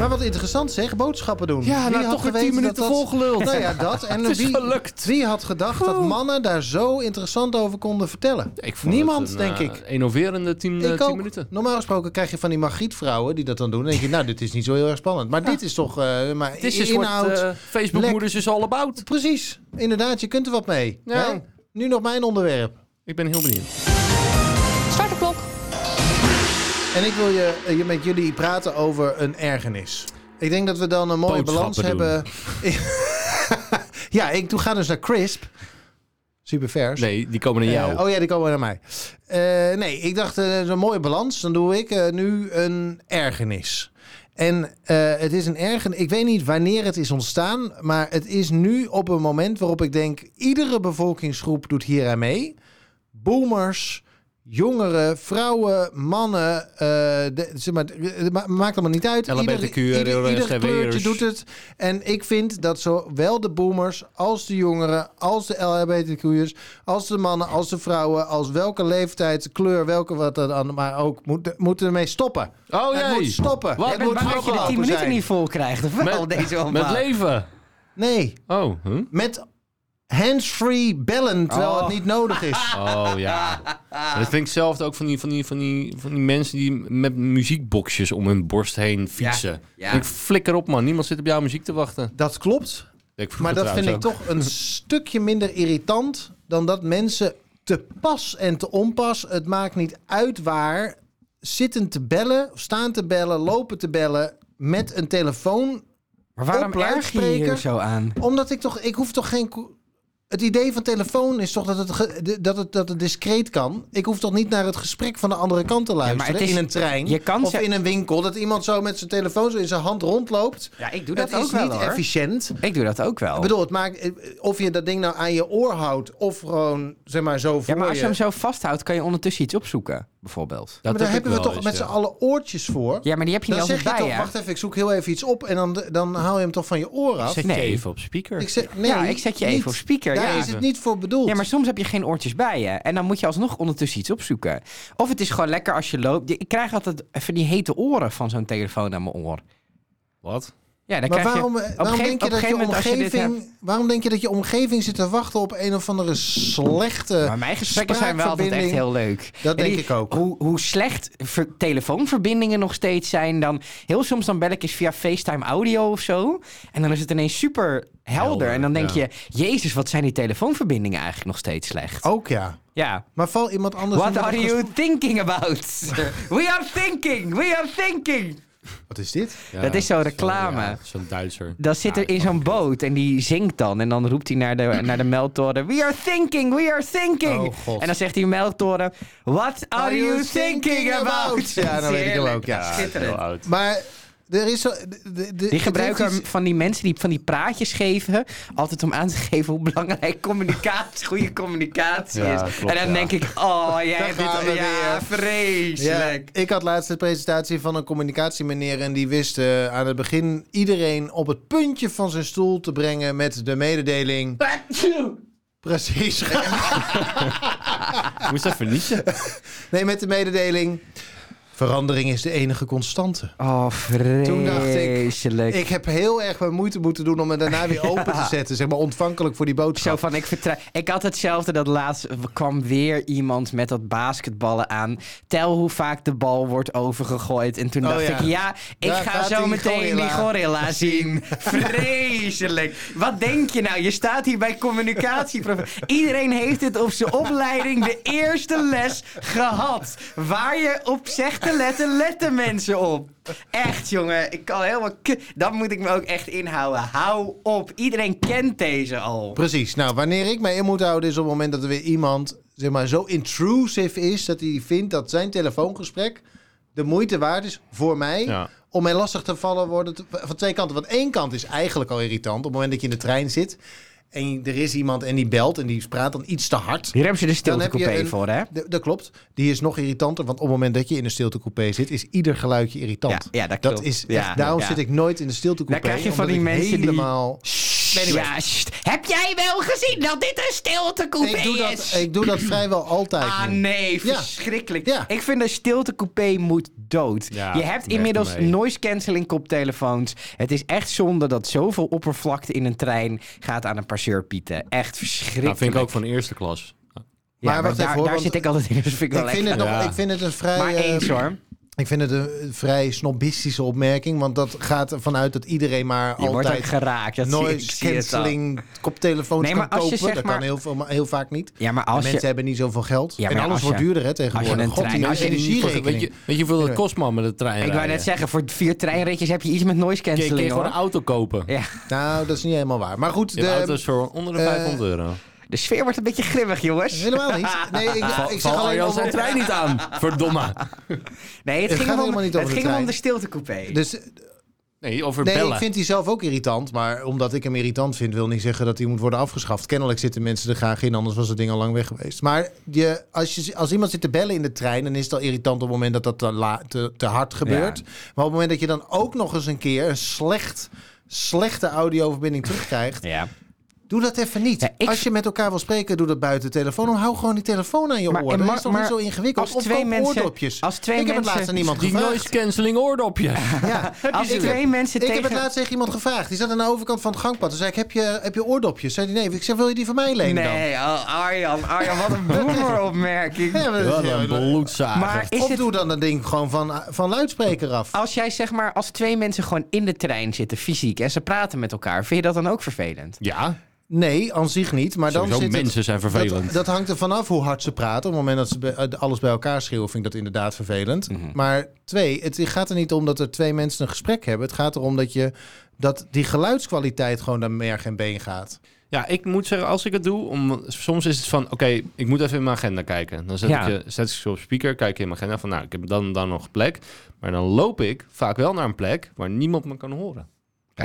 S3: Maar wat interessant zeg, boodschappen doen.
S2: Ja,
S3: Wie
S2: nou
S3: had
S2: toch weer
S3: geweten
S2: 10 minuten
S3: dat dat-
S2: volgeluld.
S3: Nou ja, dat. En
S2: Het is
S3: wie,
S2: gelukt.
S3: wie had gedacht dat mannen daar zo interessant over konden vertellen?
S2: Ik vond
S3: Niemand,
S2: het een,
S3: denk
S2: eh,
S3: ik.
S2: Innoverende 10
S3: Ik ook.
S2: Eh, minuten.
S3: Normaal gesproken krijg je van die magietvrouwen die dat dan doen. Dan denk je, nou, dit is niet zo heel erg spannend. Maar dit is toch eh maar
S2: Het is een
S3: inhoud.
S2: soort eh, Facebook
S3: lek-
S2: moeders is all about.
S3: Precies. Inderdaad, je kunt er wat mee.
S2: Ja.
S3: Hè? Nu nog mijn onderwerp.
S2: Ik ben heel benieuwd.
S4: Start de klok.
S3: En ik wil je, eh, je met jullie praten over een ergernis. Ik denk dat we dan een mooie balans
S2: Boodschappen doen.
S3: hebben. ja, ik doe, ga dus naar Crisp. Super vers.
S2: Nee, die komen naar jou.
S3: Eh, oh ja, die komen naar mij. Eh, nee, ik dacht, eh, dat is een mooie balans. Dan doe ik eh, nu een ergernis. En eh, het is een ergernis. Ik weet niet wanneer het is ontstaan. Maar het is nu op een moment waarop ik denk... iedere bevolkingsgroep doet hier aan mee. Boomers, jongeren, vrouwen, mannen. eh, de- zeg maar, het ma- maakt allemaal niet uit.
S2: LHBTQ,
S3: ieder, ieder
S2: LHBTQ.
S3: kleurtje doet het. En ik vind dat zowel de boomers als de jongeren, als de LHBTQ'ers, als de mannen, als de vrouwen, als welke leeftijd, kleur, welke wat dan maar ook, moeten, moeten ermee stoppen.
S2: Oh,
S3: Het
S2: jee.
S3: moet stoppen.
S2: Wat?
S3: Het
S1: Jij
S3: moet
S1: bent bang dat je de
S3: afgelopen
S1: 10 minuten
S3: zijn.
S1: niet vol krijgt. Of wel,
S2: Met-
S1: deze
S2: Met
S1: omhaal.
S2: leven.
S3: Nee,
S2: Oh, huh?
S3: met hands-free bellen terwijl
S1: Oh.
S3: het niet nodig is.
S2: Oh ja. Maar Dat vind ik zelf ook van die, van, die, van, die, van die mensen die met muziekboxjes om hun borst heen fietsen.
S1: ja.
S2: Ik flikker op man, niemand zit op jouw muziek te wachten.
S3: Dat klopt,
S2: Deed ik vroeger
S3: maar dat vind
S2: trouwens
S3: ik toch een stukje minder irritant dan dat mensen te pas en te onpas, het maakt niet uit waar, zitten te bellen, of staan te bellen, lopen te bellen met een telefoon.
S1: Maar waarom
S3: Op
S1: erg je je hier
S3: luidspreker?
S1: zo aan?
S3: Omdat ik toch, ik hoef toch geen... ko- Het idee van telefoon is toch dat het, ge- dat, het, dat het discreet kan. Ik hoef toch niet naar het gesprek van de andere kant te luisteren
S1: het is-
S3: in een trein
S1: je kan
S3: of
S1: ze-
S3: in een winkel. Dat iemand zo met zijn telefoon zo in zijn hand rondloopt.
S1: Ja, ik doe
S3: Het is niet efficiënt.
S1: Ik doe dat ook wel.
S3: Ik bedoel, het maakt, eh, of je dat ding nou aan je oor houdt of gewoon zeg maar zo
S1: ja,
S3: voor
S1: maar als je
S3: je.
S1: hem zo vasthoudt, kan je ondertussen iets opzoeken, bijvoorbeeld.
S2: Dat
S3: maar daar
S2: heb ik
S3: hebben we
S2: wel
S3: toch
S2: eens,
S3: met
S2: ja.
S3: z'n allen oortjes voor.
S1: Ja, maar die heb je
S3: dan
S1: niet
S3: zeg
S1: altijd
S3: je
S1: bij
S3: toch,
S1: je.
S3: wacht even, ik zoek heel even iets op en dan, dan haal je hem toch van je oor af.
S2: Zet je
S1: Nee.
S2: even op speaker.
S3: Ik zeg, nee,
S1: ja, ik zet je
S3: niet.
S1: even op speaker.
S3: Daar
S1: Ja.
S3: is het niet voor bedoeld.
S1: ja, maar soms heb je geen oortjes bij je. En dan moet je alsnog ondertussen iets opzoeken. Of het is gewoon lekker als je loopt. Ik krijg altijd even die hete oren van zo'n telefoon aan mijn oor.
S2: Wat?
S1: Ja, dan
S3: Maar
S1: krijg
S3: waarom,
S1: je...
S3: eh,
S1: op
S3: waarom,
S1: een
S3: denk je
S1: gegeven- op een
S3: dat je
S1: gegeven moment als je dit
S3: omgeving, waarom denk je dat je omgeving zit te wachten op een of andere slechte
S1: Maar mijn gesprekken zijn wel altijd echt
S3: eh, spraakverbinding?
S1: heel leuk.
S3: Dat
S1: En
S3: denk
S1: die-
S3: ik ook.
S1: Hoe, hoe slecht ver- telefoonverbindingen nog steeds zijn. Dan, heel soms dan bel ik eens via FaceTime audio of zo. En dan is het ineens super helder.
S2: Helder,
S1: en dan denk
S2: ja.
S1: je, jezus, wat zijn die telefoonverbindingen eigenlijk nog steeds slecht.
S3: Ook ja.
S1: Ja.
S3: Maar val iemand anders...
S1: What
S3: nu
S1: are
S3: nog
S1: you
S3: eens-
S1: thinking about? We are thinking, we are thinking.
S3: Wat is dit?
S2: Ja,
S1: Dat is zo'n reclame.
S2: ja, Zo'n Duitser.
S1: Dan zit
S2: Ja,
S1: er in zo'n boot en die zingt dan. En dan roept hij naar de, naar de meldtoren... We are thinking, we are thinking.
S3: Oh, God.
S1: en dan zegt die meldtoren... What are, you thinking, about?
S3: Ja, dat weet ik wel
S1: Heerlijk.
S3: ook. Ja.
S2: heel
S1: Schitterend.
S2: oud.
S3: Maar er is zo... de- de- de-
S1: Die
S3: het heeft
S1: gebruiken
S3: iets-
S1: van die mensen die van die praatjes geven... altijd om aan te geven hoe belangrijk communicatie, goede communicatie
S2: Ja,
S1: is.
S2: klopt,
S1: en dan
S2: ja.
S1: denk ik... Oh, jij
S3: Daar
S1: hebt dit...
S3: gaan we
S1: Ja,
S3: weer. Ja,
S1: vreselijk.
S3: ik had laatst een presentatie van een communicatiemeneer... en die wist eh, aan het begin iedereen op het puntje van zijn stoel te brengen... met de mededeling... Precies.
S2: Ik moest even niezen.
S3: Nee, met de mededeling... Verandering is de enige constante.
S1: Oh, vreselijk.
S3: Toen dacht ik, Ik heb heel erg mijn moeite moeten doen om me daarna weer open te zetten. Zeg maar ontvankelijk voor die
S1: Zo
S3: boodschap.
S1: van, ik vertrouw... Ik had hetzelfde dat laatst kwam weer iemand met dat basketballen aan. Tel hoe vaak de bal wordt overgegooid. En toen
S3: Oh
S1: dacht
S3: ja.
S1: ik, ja, ik
S3: Daar
S1: ga
S3: gaat
S1: zo
S3: die
S1: meteen die
S3: gorilla.
S1: gorilla zien. Vreselijk. Wat denk je nou? Je staat hier bij communicatie. Iedereen heeft het op zijn opleiding de eerste les gehad. Waar je op zegt te letten, letten mensen op. Echt, jongen. Ik kan helemaal... k- Dan moet ik me ook echt inhouden. Hou op. Iedereen kent deze al.
S3: Precies. Nou, wanneer ik mij in moet houden is op het moment dat er weer iemand zeg maar, zo intrusive is... dat hij vindt dat zijn telefoongesprek de moeite waard is voor mij...
S2: Ja.
S3: om mij lastig te vallen worden te- van twee kanten. Want één kant is eigenlijk al irritant. Op het moment dat je in de trein zit en er is iemand en die belt... en die praat dan iets te hard...
S1: Hier hebben ze de
S3: Dan heb je
S1: stiltecoupé
S3: een-
S1: voor, hè?
S3: D- dat klopt. Die is nog irritanter, want op het moment dat je in een stiltecoupé zit, is ieder geluidje irritant.
S1: Ja, ja, dat klopt.
S3: is echt-
S1: Ja,
S3: daarom
S1: ja.
S3: zit ik nooit in de stiltecoupé.
S1: Dan krijg je van
S3: omdat
S1: die
S3: ik
S1: mensen die-
S3: helemaal...
S1: Ja, sst. Heb jij wel gezien dat dit een stiltecoupé
S3: Ik doe, dat,
S1: is?
S3: ik doe dat vrijwel altijd.
S1: Ah
S3: nu.
S1: nee,
S3: Ja.
S1: verschrikkelijk.
S3: Ja.
S1: Ik vind een stiltecoupé moet dood.
S2: Ja,
S1: je hebt
S2: weg
S1: inmiddels
S2: ermee.
S1: noise cancelling koptelefoons. Het is echt zonde dat zoveel oppervlakte in een trein gaat aan een passeur pieten. Echt verschrikkelijk.
S2: Dat Nou, vind ik ook van de eerste klas.
S1: Ja,
S3: Maar
S1: maar,
S3: wacht
S1: daar,
S3: even, hoor,
S1: daar
S3: want
S1: zit ik altijd in. Dus vind ik wel
S3: Ik vind, het
S1: lekker.
S3: nog,
S2: Ja.
S3: ik vind het een vrij,
S1: Maar
S3: eh,
S1: eens hoor.
S3: ik vind het een vrij snobistische opmerking, want dat gaat ervan uit dat iedereen maar
S1: Je wordt ook
S3: altijd
S1: geraakt. Dat zie, ik
S3: noise
S1: zie het al.
S3: cancelling koptelefoons
S1: Nee, maar
S3: kan
S1: als je
S3: kopen.
S1: zeg
S3: dat
S1: maar-
S3: kan heel, veel, maar heel vaak niet.
S1: Ja, maar
S3: En
S1: als
S3: mensen
S1: je...
S3: hebben niet zoveel geld.
S1: Ja,
S3: en
S1: maar
S3: alles
S1: als
S3: wordt
S1: je-
S3: duurder hè, tegenwoordig.
S1: een trein-
S3: die
S1: als je een
S3: energierekening.
S2: Weet je, weet je hoeveel dat kost, man, met een trein
S1: Ik wou net
S2: rijden?
S1: zeggen, voor vier treinritjes heb je iets met noise
S2: Kun je- kun je
S1: cancelling
S2: gewoon een
S1: hoor.
S2: auto kopen.
S1: Ja.
S3: Nou, dat is niet helemaal waar. Maar goed,
S2: Je hebt
S3: de,
S2: auto's voor onder de
S3: eh,
S2: 500 euro.
S1: De sfeer wordt een beetje grimmig, jongens.
S3: helemaal niet. Nee, ik,
S2: Val-
S3: ik zeg
S2: val
S3: alleen
S2: Arjan zijn
S3: over...
S2: trein niet aan. Verdomme.
S1: Nee, het, ging,
S3: Het gaat
S1: hem om,
S3: helemaal niet
S1: het
S3: over
S1: ging
S3: de
S1: hem om
S3: trein.
S1: de stiltecoupé.
S3: Dus,
S2: Nee, over
S3: nee,
S2: bellen.
S3: ik vind die zelf ook irritant. Maar omdat ik hem irritant vind, wil niet zeggen dat hij moet worden afgeschaft. Kennelijk zitten mensen er graag in, anders was het ding al lang weg geweest. Maar je, als, je, als iemand zit te bellen in de trein, dan is het al irritant op het moment dat dat te, la- te, te hard gebeurt. Maar op het moment dat je dan ook nog eens een keer een slecht, slechte audioverbinding terugkrijgt,
S1: Ja.
S3: Doe dat even niet.
S1: Ja, ik-
S3: Als je met elkaar wil spreken, doe dat buiten de telefoon. om. Hou gewoon die telefoon aan je
S1: Maar-
S3: oren.
S1: en
S3: Dat
S1: maar-
S3: is toch
S1: maar
S3: niet zo ingewikkeld?
S1: als
S3: Of
S1: twee
S3: koop
S1: mensen-
S3: oordopjes.
S1: als twee
S3: ik heb het
S1: mensen-
S3: laatst aan iemand
S2: Die
S3: gevraagd.
S2: noise cancelling oordopje.
S3: Ja.
S1: Als
S3: Ik-
S1: twee mensen
S3: Ik
S1: tegen...
S3: heb het laatst tegen iemand gevraagd. Die zat aan de overkant van het gangpad. Toen zei ik, heb je, heb je oordopjes? Zei die, nee. Ik zei, wil je die van mij lenen dan?
S1: Nee, oh, Arjan, Arjan, wat een boomeropmerking.
S3: Ja, maar dat
S2: Wat
S3: is
S2: een
S3: heel-
S2: bloedzager.
S1: Maar is
S3: Of
S1: het,
S3: doe dan dat ding gewoon van, van luidspreker af.
S1: als jij zeg maar als twee mensen gewoon in de trein zitten, fysiek, en ze praten met elkaar, vind je dat dan ook vervelend?
S2: ja,
S3: Nee, aan zich niet. Maar dan
S2: sowieso
S3: zit het-
S2: mensen zijn vervelend.
S3: Dat, dat hangt er vanaf hoe hard ze praten. Op het moment dat ze bij- eh, alles bij elkaar schreeuwen, vind ik dat inderdaad vervelend.
S2: Mhm.
S3: Maar twee, het gaat er niet om dat er twee mensen een gesprek hebben. Het gaat erom dat, je, dat die geluidskwaliteit gewoon naar merg en been gaat.
S2: Ja, ik moet zeggen, als ik het doe, om, soms is het van, oké, ik moet even in mijn agenda kijken. Dan zet,
S1: Ja.
S2: ik, je- zet ik ze op speaker, kijk ik in mijn agenda van, nou, ik heb dan en dan nog plek. Maar dan loop ik vaak wel naar een plek waar niemand me kan horen.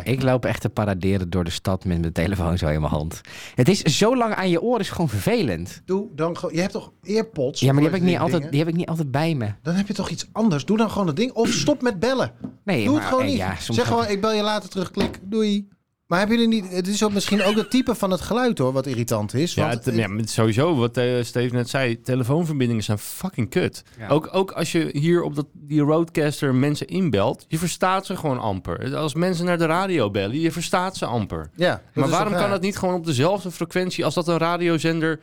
S1: Ik loop echt te paraderen door de stad met mijn telefoon zo in mijn hand. Het is zo lang aan je oren, is gewoon vervelend.
S3: Doe dan gewoon... Je hebt toch earpods?
S1: Ja, maar die
S3: voor
S1: heb ik niet
S3: die
S1: altijd,
S3: dingen?
S1: die heb ik niet altijd bij me.
S3: Dan heb je toch iets anders. Doe dan gewoon het ding. Of stop met bellen.
S1: Nee,
S3: Doe
S1: maar,
S3: het gewoon
S1: eh,
S3: niet.
S1: Ja, soms
S3: zeg gewoon, ik bel je later terug. Klik. Doei. Maar hebben jullie niet... Het is ook misschien ook het type van het geluid, hoor, wat irritant is.
S2: Ja,
S3: want
S2: het- ja, maar sowieso, wat eh, Steve net zei, telefoonverbindingen zijn fucking kut.
S1: Ja.
S2: Ook, ook als je hier op dat, die roadcaster mensen inbelt, je verstaat ze gewoon amper. Als mensen naar de radio bellen, je verstaat ze amper.
S3: ja, dat
S2: Maar
S3: is
S2: waarom
S3: toch
S2: kan
S3: raar?
S2: dat niet gewoon op dezelfde frequentie als dat een radiozender...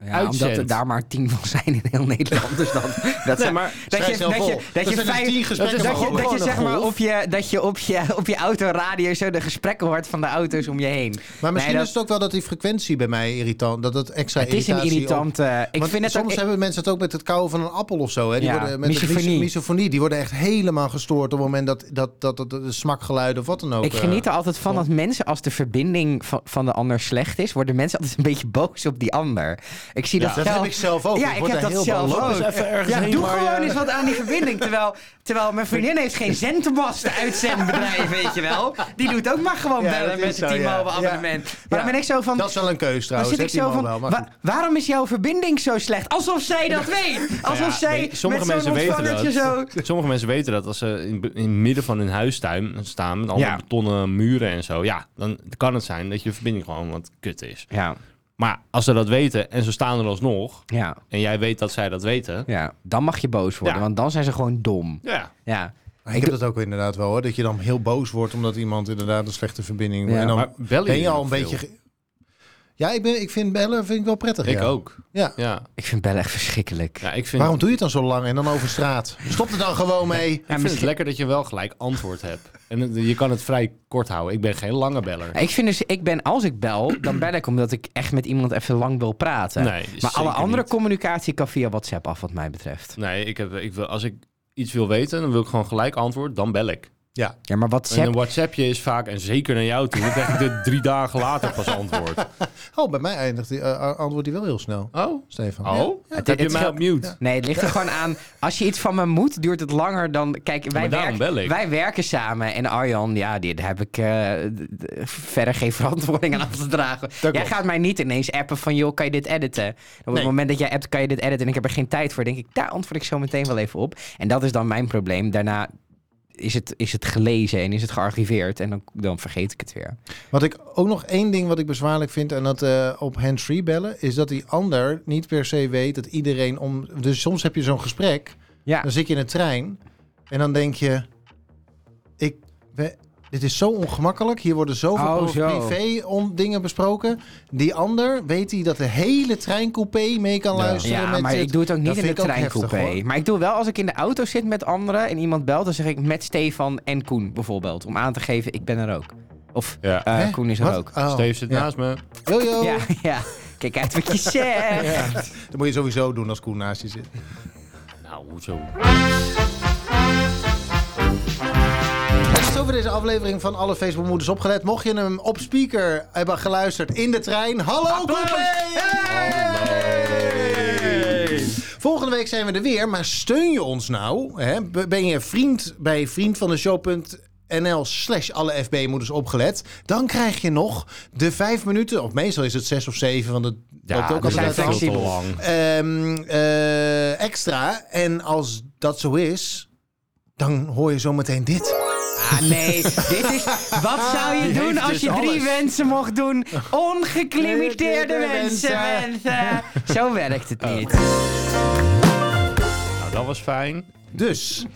S1: Ja, omdat er
S2: uitzendt.
S1: daar maar tien van zijn in heel Nederland. Dus dan, dat
S2: Nee,
S1: zijn-
S2: maar
S1: dat je, dat
S3: Schrijf zelf
S1: je,
S3: op.
S1: dat je
S3: zijn er
S1: vijf-
S3: tien
S1: Dat,
S3: gesprekken
S1: je-
S2: is
S1: dat
S3: van
S1: je, dat je
S3: gewoon een
S1: zeg maar
S3: golf.
S1: op je, dat je op je, op je autoradio zo de gesprekken hoort van de auto's om je heen.
S3: Maar misschien
S1: Nee, dat-
S3: is het ook wel dat die frequentie bij mij irritant, dat het extra
S1: Het is een
S3: irritatie ook-
S1: irritant. eh, ik
S3: Want
S1: vind het ook.
S3: soms
S1: ik-
S3: hebben mensen het ook met het kauwen van een appel of zo. Hè? Die
S1: Ja,
S3: worden, met de
S1: misofonie.
S3: mis- misofonie. Die worden echt helemaal gestoord op het moment dat dat, dat, dat, dat smakgeluid of wat dan ook. eh,
S1: Ik geniet er altijd van
S3: van-
S1: dat mensen, als de verbinding van, van de ander slecht is, worden mensen altijd een beetje boos op die ander. Ik zie
S3: dat.
S1: dat
S3: Dat
S1: wel-
S3: heb ik zelf ook.
S1: Ja,
S3: Oh, ik
S1: ik
S3: word
S1: heb
S3: daar
S1: dat
S3: heel
S1: zelf
S3: boos op.
S1: ook.
S2: Dus even ergens
S1: Ja,
S2: heen
S1: doe
S2: waar je-
S1: gewoon eens wat aan die verbinding. Terwijl, terwijl mijn vriendin heeft geen centenbast uitzendbedrijf, weet je wel. Die doet ook maar gewoon
S3: Ja, dat
S1: bellen
S3: is
S1: met een
S3: zo, ja.
S1: T-Mobile abonnement. Maar
S3: Ja.
S1: dan ben ik zo van...
S3: Dat is wel een keus
S1: Dan
S3: trouwens.
S1: zit ik
S3: hè,
S1: zo
S3: die
S1: van,
S3: man wel, maar
S1: wa-
S3: goed.
S1: waarom is jouw verbinding zo slecht? Alsof zij dat
S3: Nou
S1: weet. Alsof
S2: Ja,
S1: zij
S2: nee, sommige
S1: met zo'n
S2: mensen weten
S1: ontvangertje
S2: dat.
S1: zo...
S2: Sommige mensen weten dat als ze in, in het midden van hun huistuin staan met allemaal
S1: Ja.
S2: betonnen muren en zo. Ja, dan kan het zijn dat je verbinding gewoon wat kut is.
S1: Ja,
S2: Maar als ze dat weten en ze staan er alsnog
S1: ja,
S2: en jij weet dat zij dat weten.
S1: ja. Dan mag je boos worden,
S2: Ja.
S1: want dan zijn ze gewoon dom.
S2: Ja,
S1: Ja.
S3: Maar Ik heb dat ook inderdaad wel hoor. Dat je dan heel boos wordt omdat iemand inderdaad een slechte verbinding.
S1: Ja,
S3: en dan
S2: maar bellen
S3: ben je
S2: jullie
S3: al een
S2: nog veel?
S3: beetje. ge- Ja, ik, ben, ik vind bellen vind ik wel prettig.
S2: ik
S3: ja.
S2: ook.
S3: Ja.
S2: Ja.
S1: Ik vind bellen echt verschrikkelijk.
S2: ja, ik vind,
S3: Waarom doe je het dan zo lang en dan over straat? Stop er dan gewoon mee.
S2: ik vind het
S1: misschien-
S2: lekker dat je wel gelijk antwoord hebt. En het- je kan het vrij kort houden. Ik ben geen lange beller.
S1: Ik vind dus, ik ben, als ik bel, dan bel ik omdat ik echt met iemand even lang wil praten.
S2: Nee,
S1: maar alle
S2: zeker
S1: andere
S2: niet.
S1: communicatie kan via WhatsApp af, wat mij betreft.
S2: Nee, ik heb, ik wil, als ik iets wil weten, dan wil ik gewoon gelijk antwoord, dan bel ik.
S1: Ja, maar
S2: En een
S1: WhatsApp...
S2: WhatsAppje is vaak, en zeker naar jou toe, dan krijg ik dit drie dagen later pas antwoord.
S3: Oh, bij mij eindigt die eh, antwoord die wel heel snel,
S2: Oh?
S3: Stefan.
S2: Oh?
S1: Het-
S2: heb je
S1: het
S2: mij
S1: scheelt-
S2: op mute?
S1: Nee, het ligt er gewoon aan. Als je iets van me moet, duurt het langer dan. Kijk, wij,
S2: maar daarom
S1: werken-
S2: bel ik.
S1: wij werken samen. En Arjan, ja, die, daar heb ik eh, d- d- verder geen verantwoording aan af te dragen.
S2: Dat
S1: jij
S2: klopt.
S1: gaat mij niet ineens appen van, joh, kan je dit editen? En Op het
S2: Nee.
S1: moment dat jij appt, kan je dit editen en ik heb er geen tijd voor, denk ik, daar antwoord ik zo meteen wel even op. En dat is dan mijn probleem. Daarna is het, is het gelezen en is het gearchiveerd en dan, dan vergeet ik het weer.
S3: Wat ik ook nog één ding wat ik bezwaarlijk vind en dat eh, op hands-free bellen is dat die ander niet per se weet dat iedereen om. Dus soms heb je zo'n gesprek,
S1: Ja,
S3: dan zit je in een trein en dan denk je, ik, we- dit is zo ongemakkelijk. Hier worden zoveel
S1: Oh,
S3: over
S1: zo.
S3: privé om dingen besproken. Die ander weet hij dat de hele treincoupé mee kan
S2: Ja.
S3: luisteren.
S1: ja
S3: met
S1: maar
S3: dit.
S1: ik doe het ook niet
S3: Dat
S1: in de
S3: vind ik ook heftig,
S1: treincoupé.
S3: hoor.
S1: maar ik doe wel als ik in de auto zit met anderen en iemand belt, dan zeg ik met Stefan en Koen bijvoorbeeld. Om aan te geven, ik ben er ook. Of
S2: Ja.
S1: eh,
S3: Hè?
S1: Koen is er
S3: Wat?
S1: ook.
S3: Oh.
S2: Steve zit
S3: Ja.
S2: naast me.
S3: Yo, yo.
S1: Ja, ja, kijk uit wat je zegt.
S3: Dat moet je sowieso doen als Koen naast je zit.
S2: Nou, hoezo?
S3: Dat is over deze aflevering van Alle Facebookmoeders opgelet. Mocht je hem op speaker hebben geluisterd in de trein, hallo Coupé! Hey! Volgende week zijn we er weer, maar steun je ons nou? Hè? B- Ben je vriend bij vriendvandeshow.nl slash alle FB-moeders opgelet? Dan krijg je nog de vijf minuten, of meestal is het zes of zeven, want het loopt ook
S1: we
S2: dat
S1: zijn
S3: altijd
S2: is
S3: uit de hand.
S1: flexibel.
S2: te lang.
S3: Ehm, eh, extra. En als dat zo is, dan hoor je zometeen dit.
S1: Ah, Ja, nee. dit is, wat zou je
S2: Die
S1: doen
S2: heeft
S1: als
S2: dus
S1: je drie
S2: alles.
S1: wensen mocht doen? Ongelimiteerde wensen,
S3: wensen. Oh.
S1: mensen. Zo werkt het niet.
S2: Nou, dat was fijn.
S3: Dus,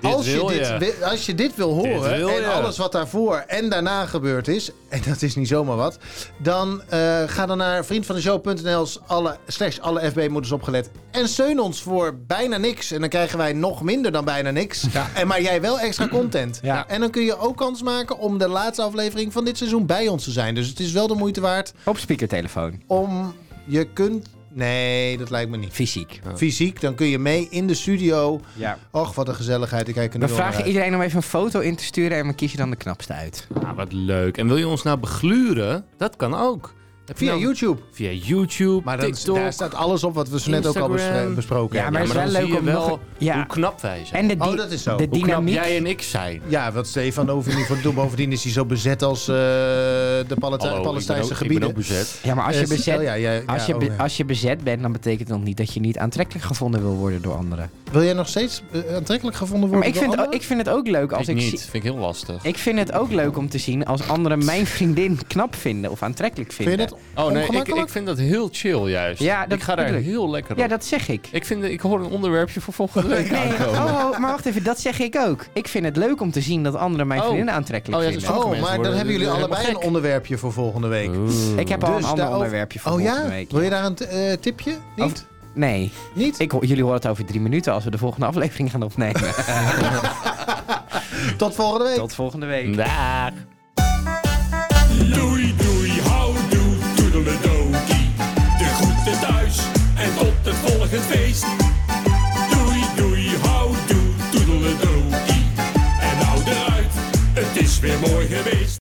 S2: Dit
S3: als je
S2: wil
S3: dit,
S2: je.
S3: wi- als je dit wil horen
S2: wil
S3: en
S2: je.
S3: alles wat daarvoor en daarna gebeurd is, en dat is niet zomaar wat, dan eh, ga dan naar vriendvandeshow.nl alle, slash alle FB-moeders opgelet en steun ons voor bijna niks. En dan krijgen wij nog minder dan bijna niks, en, maar jij wel extra content.
S1: Ja.
S3: En dan kun je ook kans maken om de laatste aflevering van dit seizoen bij ons te zijn. Dus het is wel de moeite waard
S1: Op speakertelefoon.
S3: om, je kunt, nee dat lijkt me niet.
S1: Fysiek.
S3: Fysiek, dan kun je mee in de studio.
S1: Ja.
S3: Och, wat een gezelligheid. Ik kijk er nu
S1: We
S3: al naar
S1: vragen
S3: uit.
S1: iedereen om even een foto in te sturen en we kiezen dan de knapste uit.
S2: Ah, wat leuk. En wil je ons nou begluren? Dat kan ook. Heb je
S3: Via
S2: nou-
S3: YouTube.
S2: Via YouTube,
S3: Maar dan,
S2: TikTok.
S3: daar staat alles op wat we zo net ook al
S2: Instagram.
S3: bespre- besproken
S1: Ja, maar
S3: hebben.
S1: het is
S2: dan
S1: wel
S2: zie
S1: leuk
S2: je
S1: om
S2: wel
S1: nog- ja.
S2: hoe knap wij zijn.
S1: En de,
S3: Oh,
S1: di-
S3: dat is zo.
S1: de
S3: Hoe
S2: hoe knap
S1: dynamiek.
S2: jij en ik zijn.
S3: Ja, wat eh, Stefan over niet voor te doen. Bovendien is hij zo bezet als eh, de Palati-
S2: Hallo, ik ben
S3: Palestijnse
S2: ook- ik ben
S3: gebieden.
S2: ook bezet.
S1: Ja, maar als je,
S3: Eh,
S1: bezet,
S3: oh ja, ja,
S1: als,
S3: ja,
S1: je
S3: oh
S1: be-
S3: ja.
S1: als je bezet bent, dan betekent dat niet dat je niet aantrekkelijk gevonden wil worden door anderen.
S3: Wil jij nog steeds eh, aantrekkelijk gevonden
S1: Maar
S3: worden?
S1: ik vind,
S3: door
S1: het ook- ik
S3: anderen?
S1: vind het ook leuk als
S2: ik
S1: ik,
S2: niet.
S1: zie-
S2: Vind ik heel lastig.
S1: ik vind het ook leuk om te zien als anderen mijn vriendin knap vinden of aantrekkelijk
S3: Vind
S1: vinden.
S3: je dat?
S2: Oh nee, ik,
S3: Ongemakkelijk?
S2: ik vind dat heel chill juist.
S1: Ja, dat
S2: ik ga daar
S1: bedoel ik.
S2: heel lekker op.
S1: Ja, dat zeg ik.
S2: Ik, vind, ik hoor een onderwerpje voor volgende week
S1: Nee,
S2: aankomen.
S1: oh, oh, maar wacht even, dat zeg ik ook. Ik vind het leuk om te zien dat anderen mijn
S2: Oh.
S1: vriendinnen aantrekkelijk
S2: Oh, ja, dat is
S1: vinden.
S2: Sommige
S3: Oh,
S2: mensen
S3: maar
S2: worden
S3: dan hebben jullie
S2: helemaal
S3: allebei
S2: gek.
S3: een onderwerpje voor volgende week.
S2: Oeh.
S1: Ik heb al een ander
S3: daarover-
S1: onderwerpje voor
S3: Oh ja?
S1: volgende week.
S3: Wil je daar een t- eh, tipje? Niet?
S1: Nee,
S3: Niet?
S1: ik, ho- jullie horen het over drie minuten als we de volgende aflevering gaan opnemen.
S3: Tot volgende week.
S1: Tot volgende week.
S2: Daag.
S5: Doei doei, houdoe, toedeledokie. De groeten thuis en tot het volgend feest. Doei doei, houdoe, toedeledokie. En hou eruit, het is weer mooi geweest.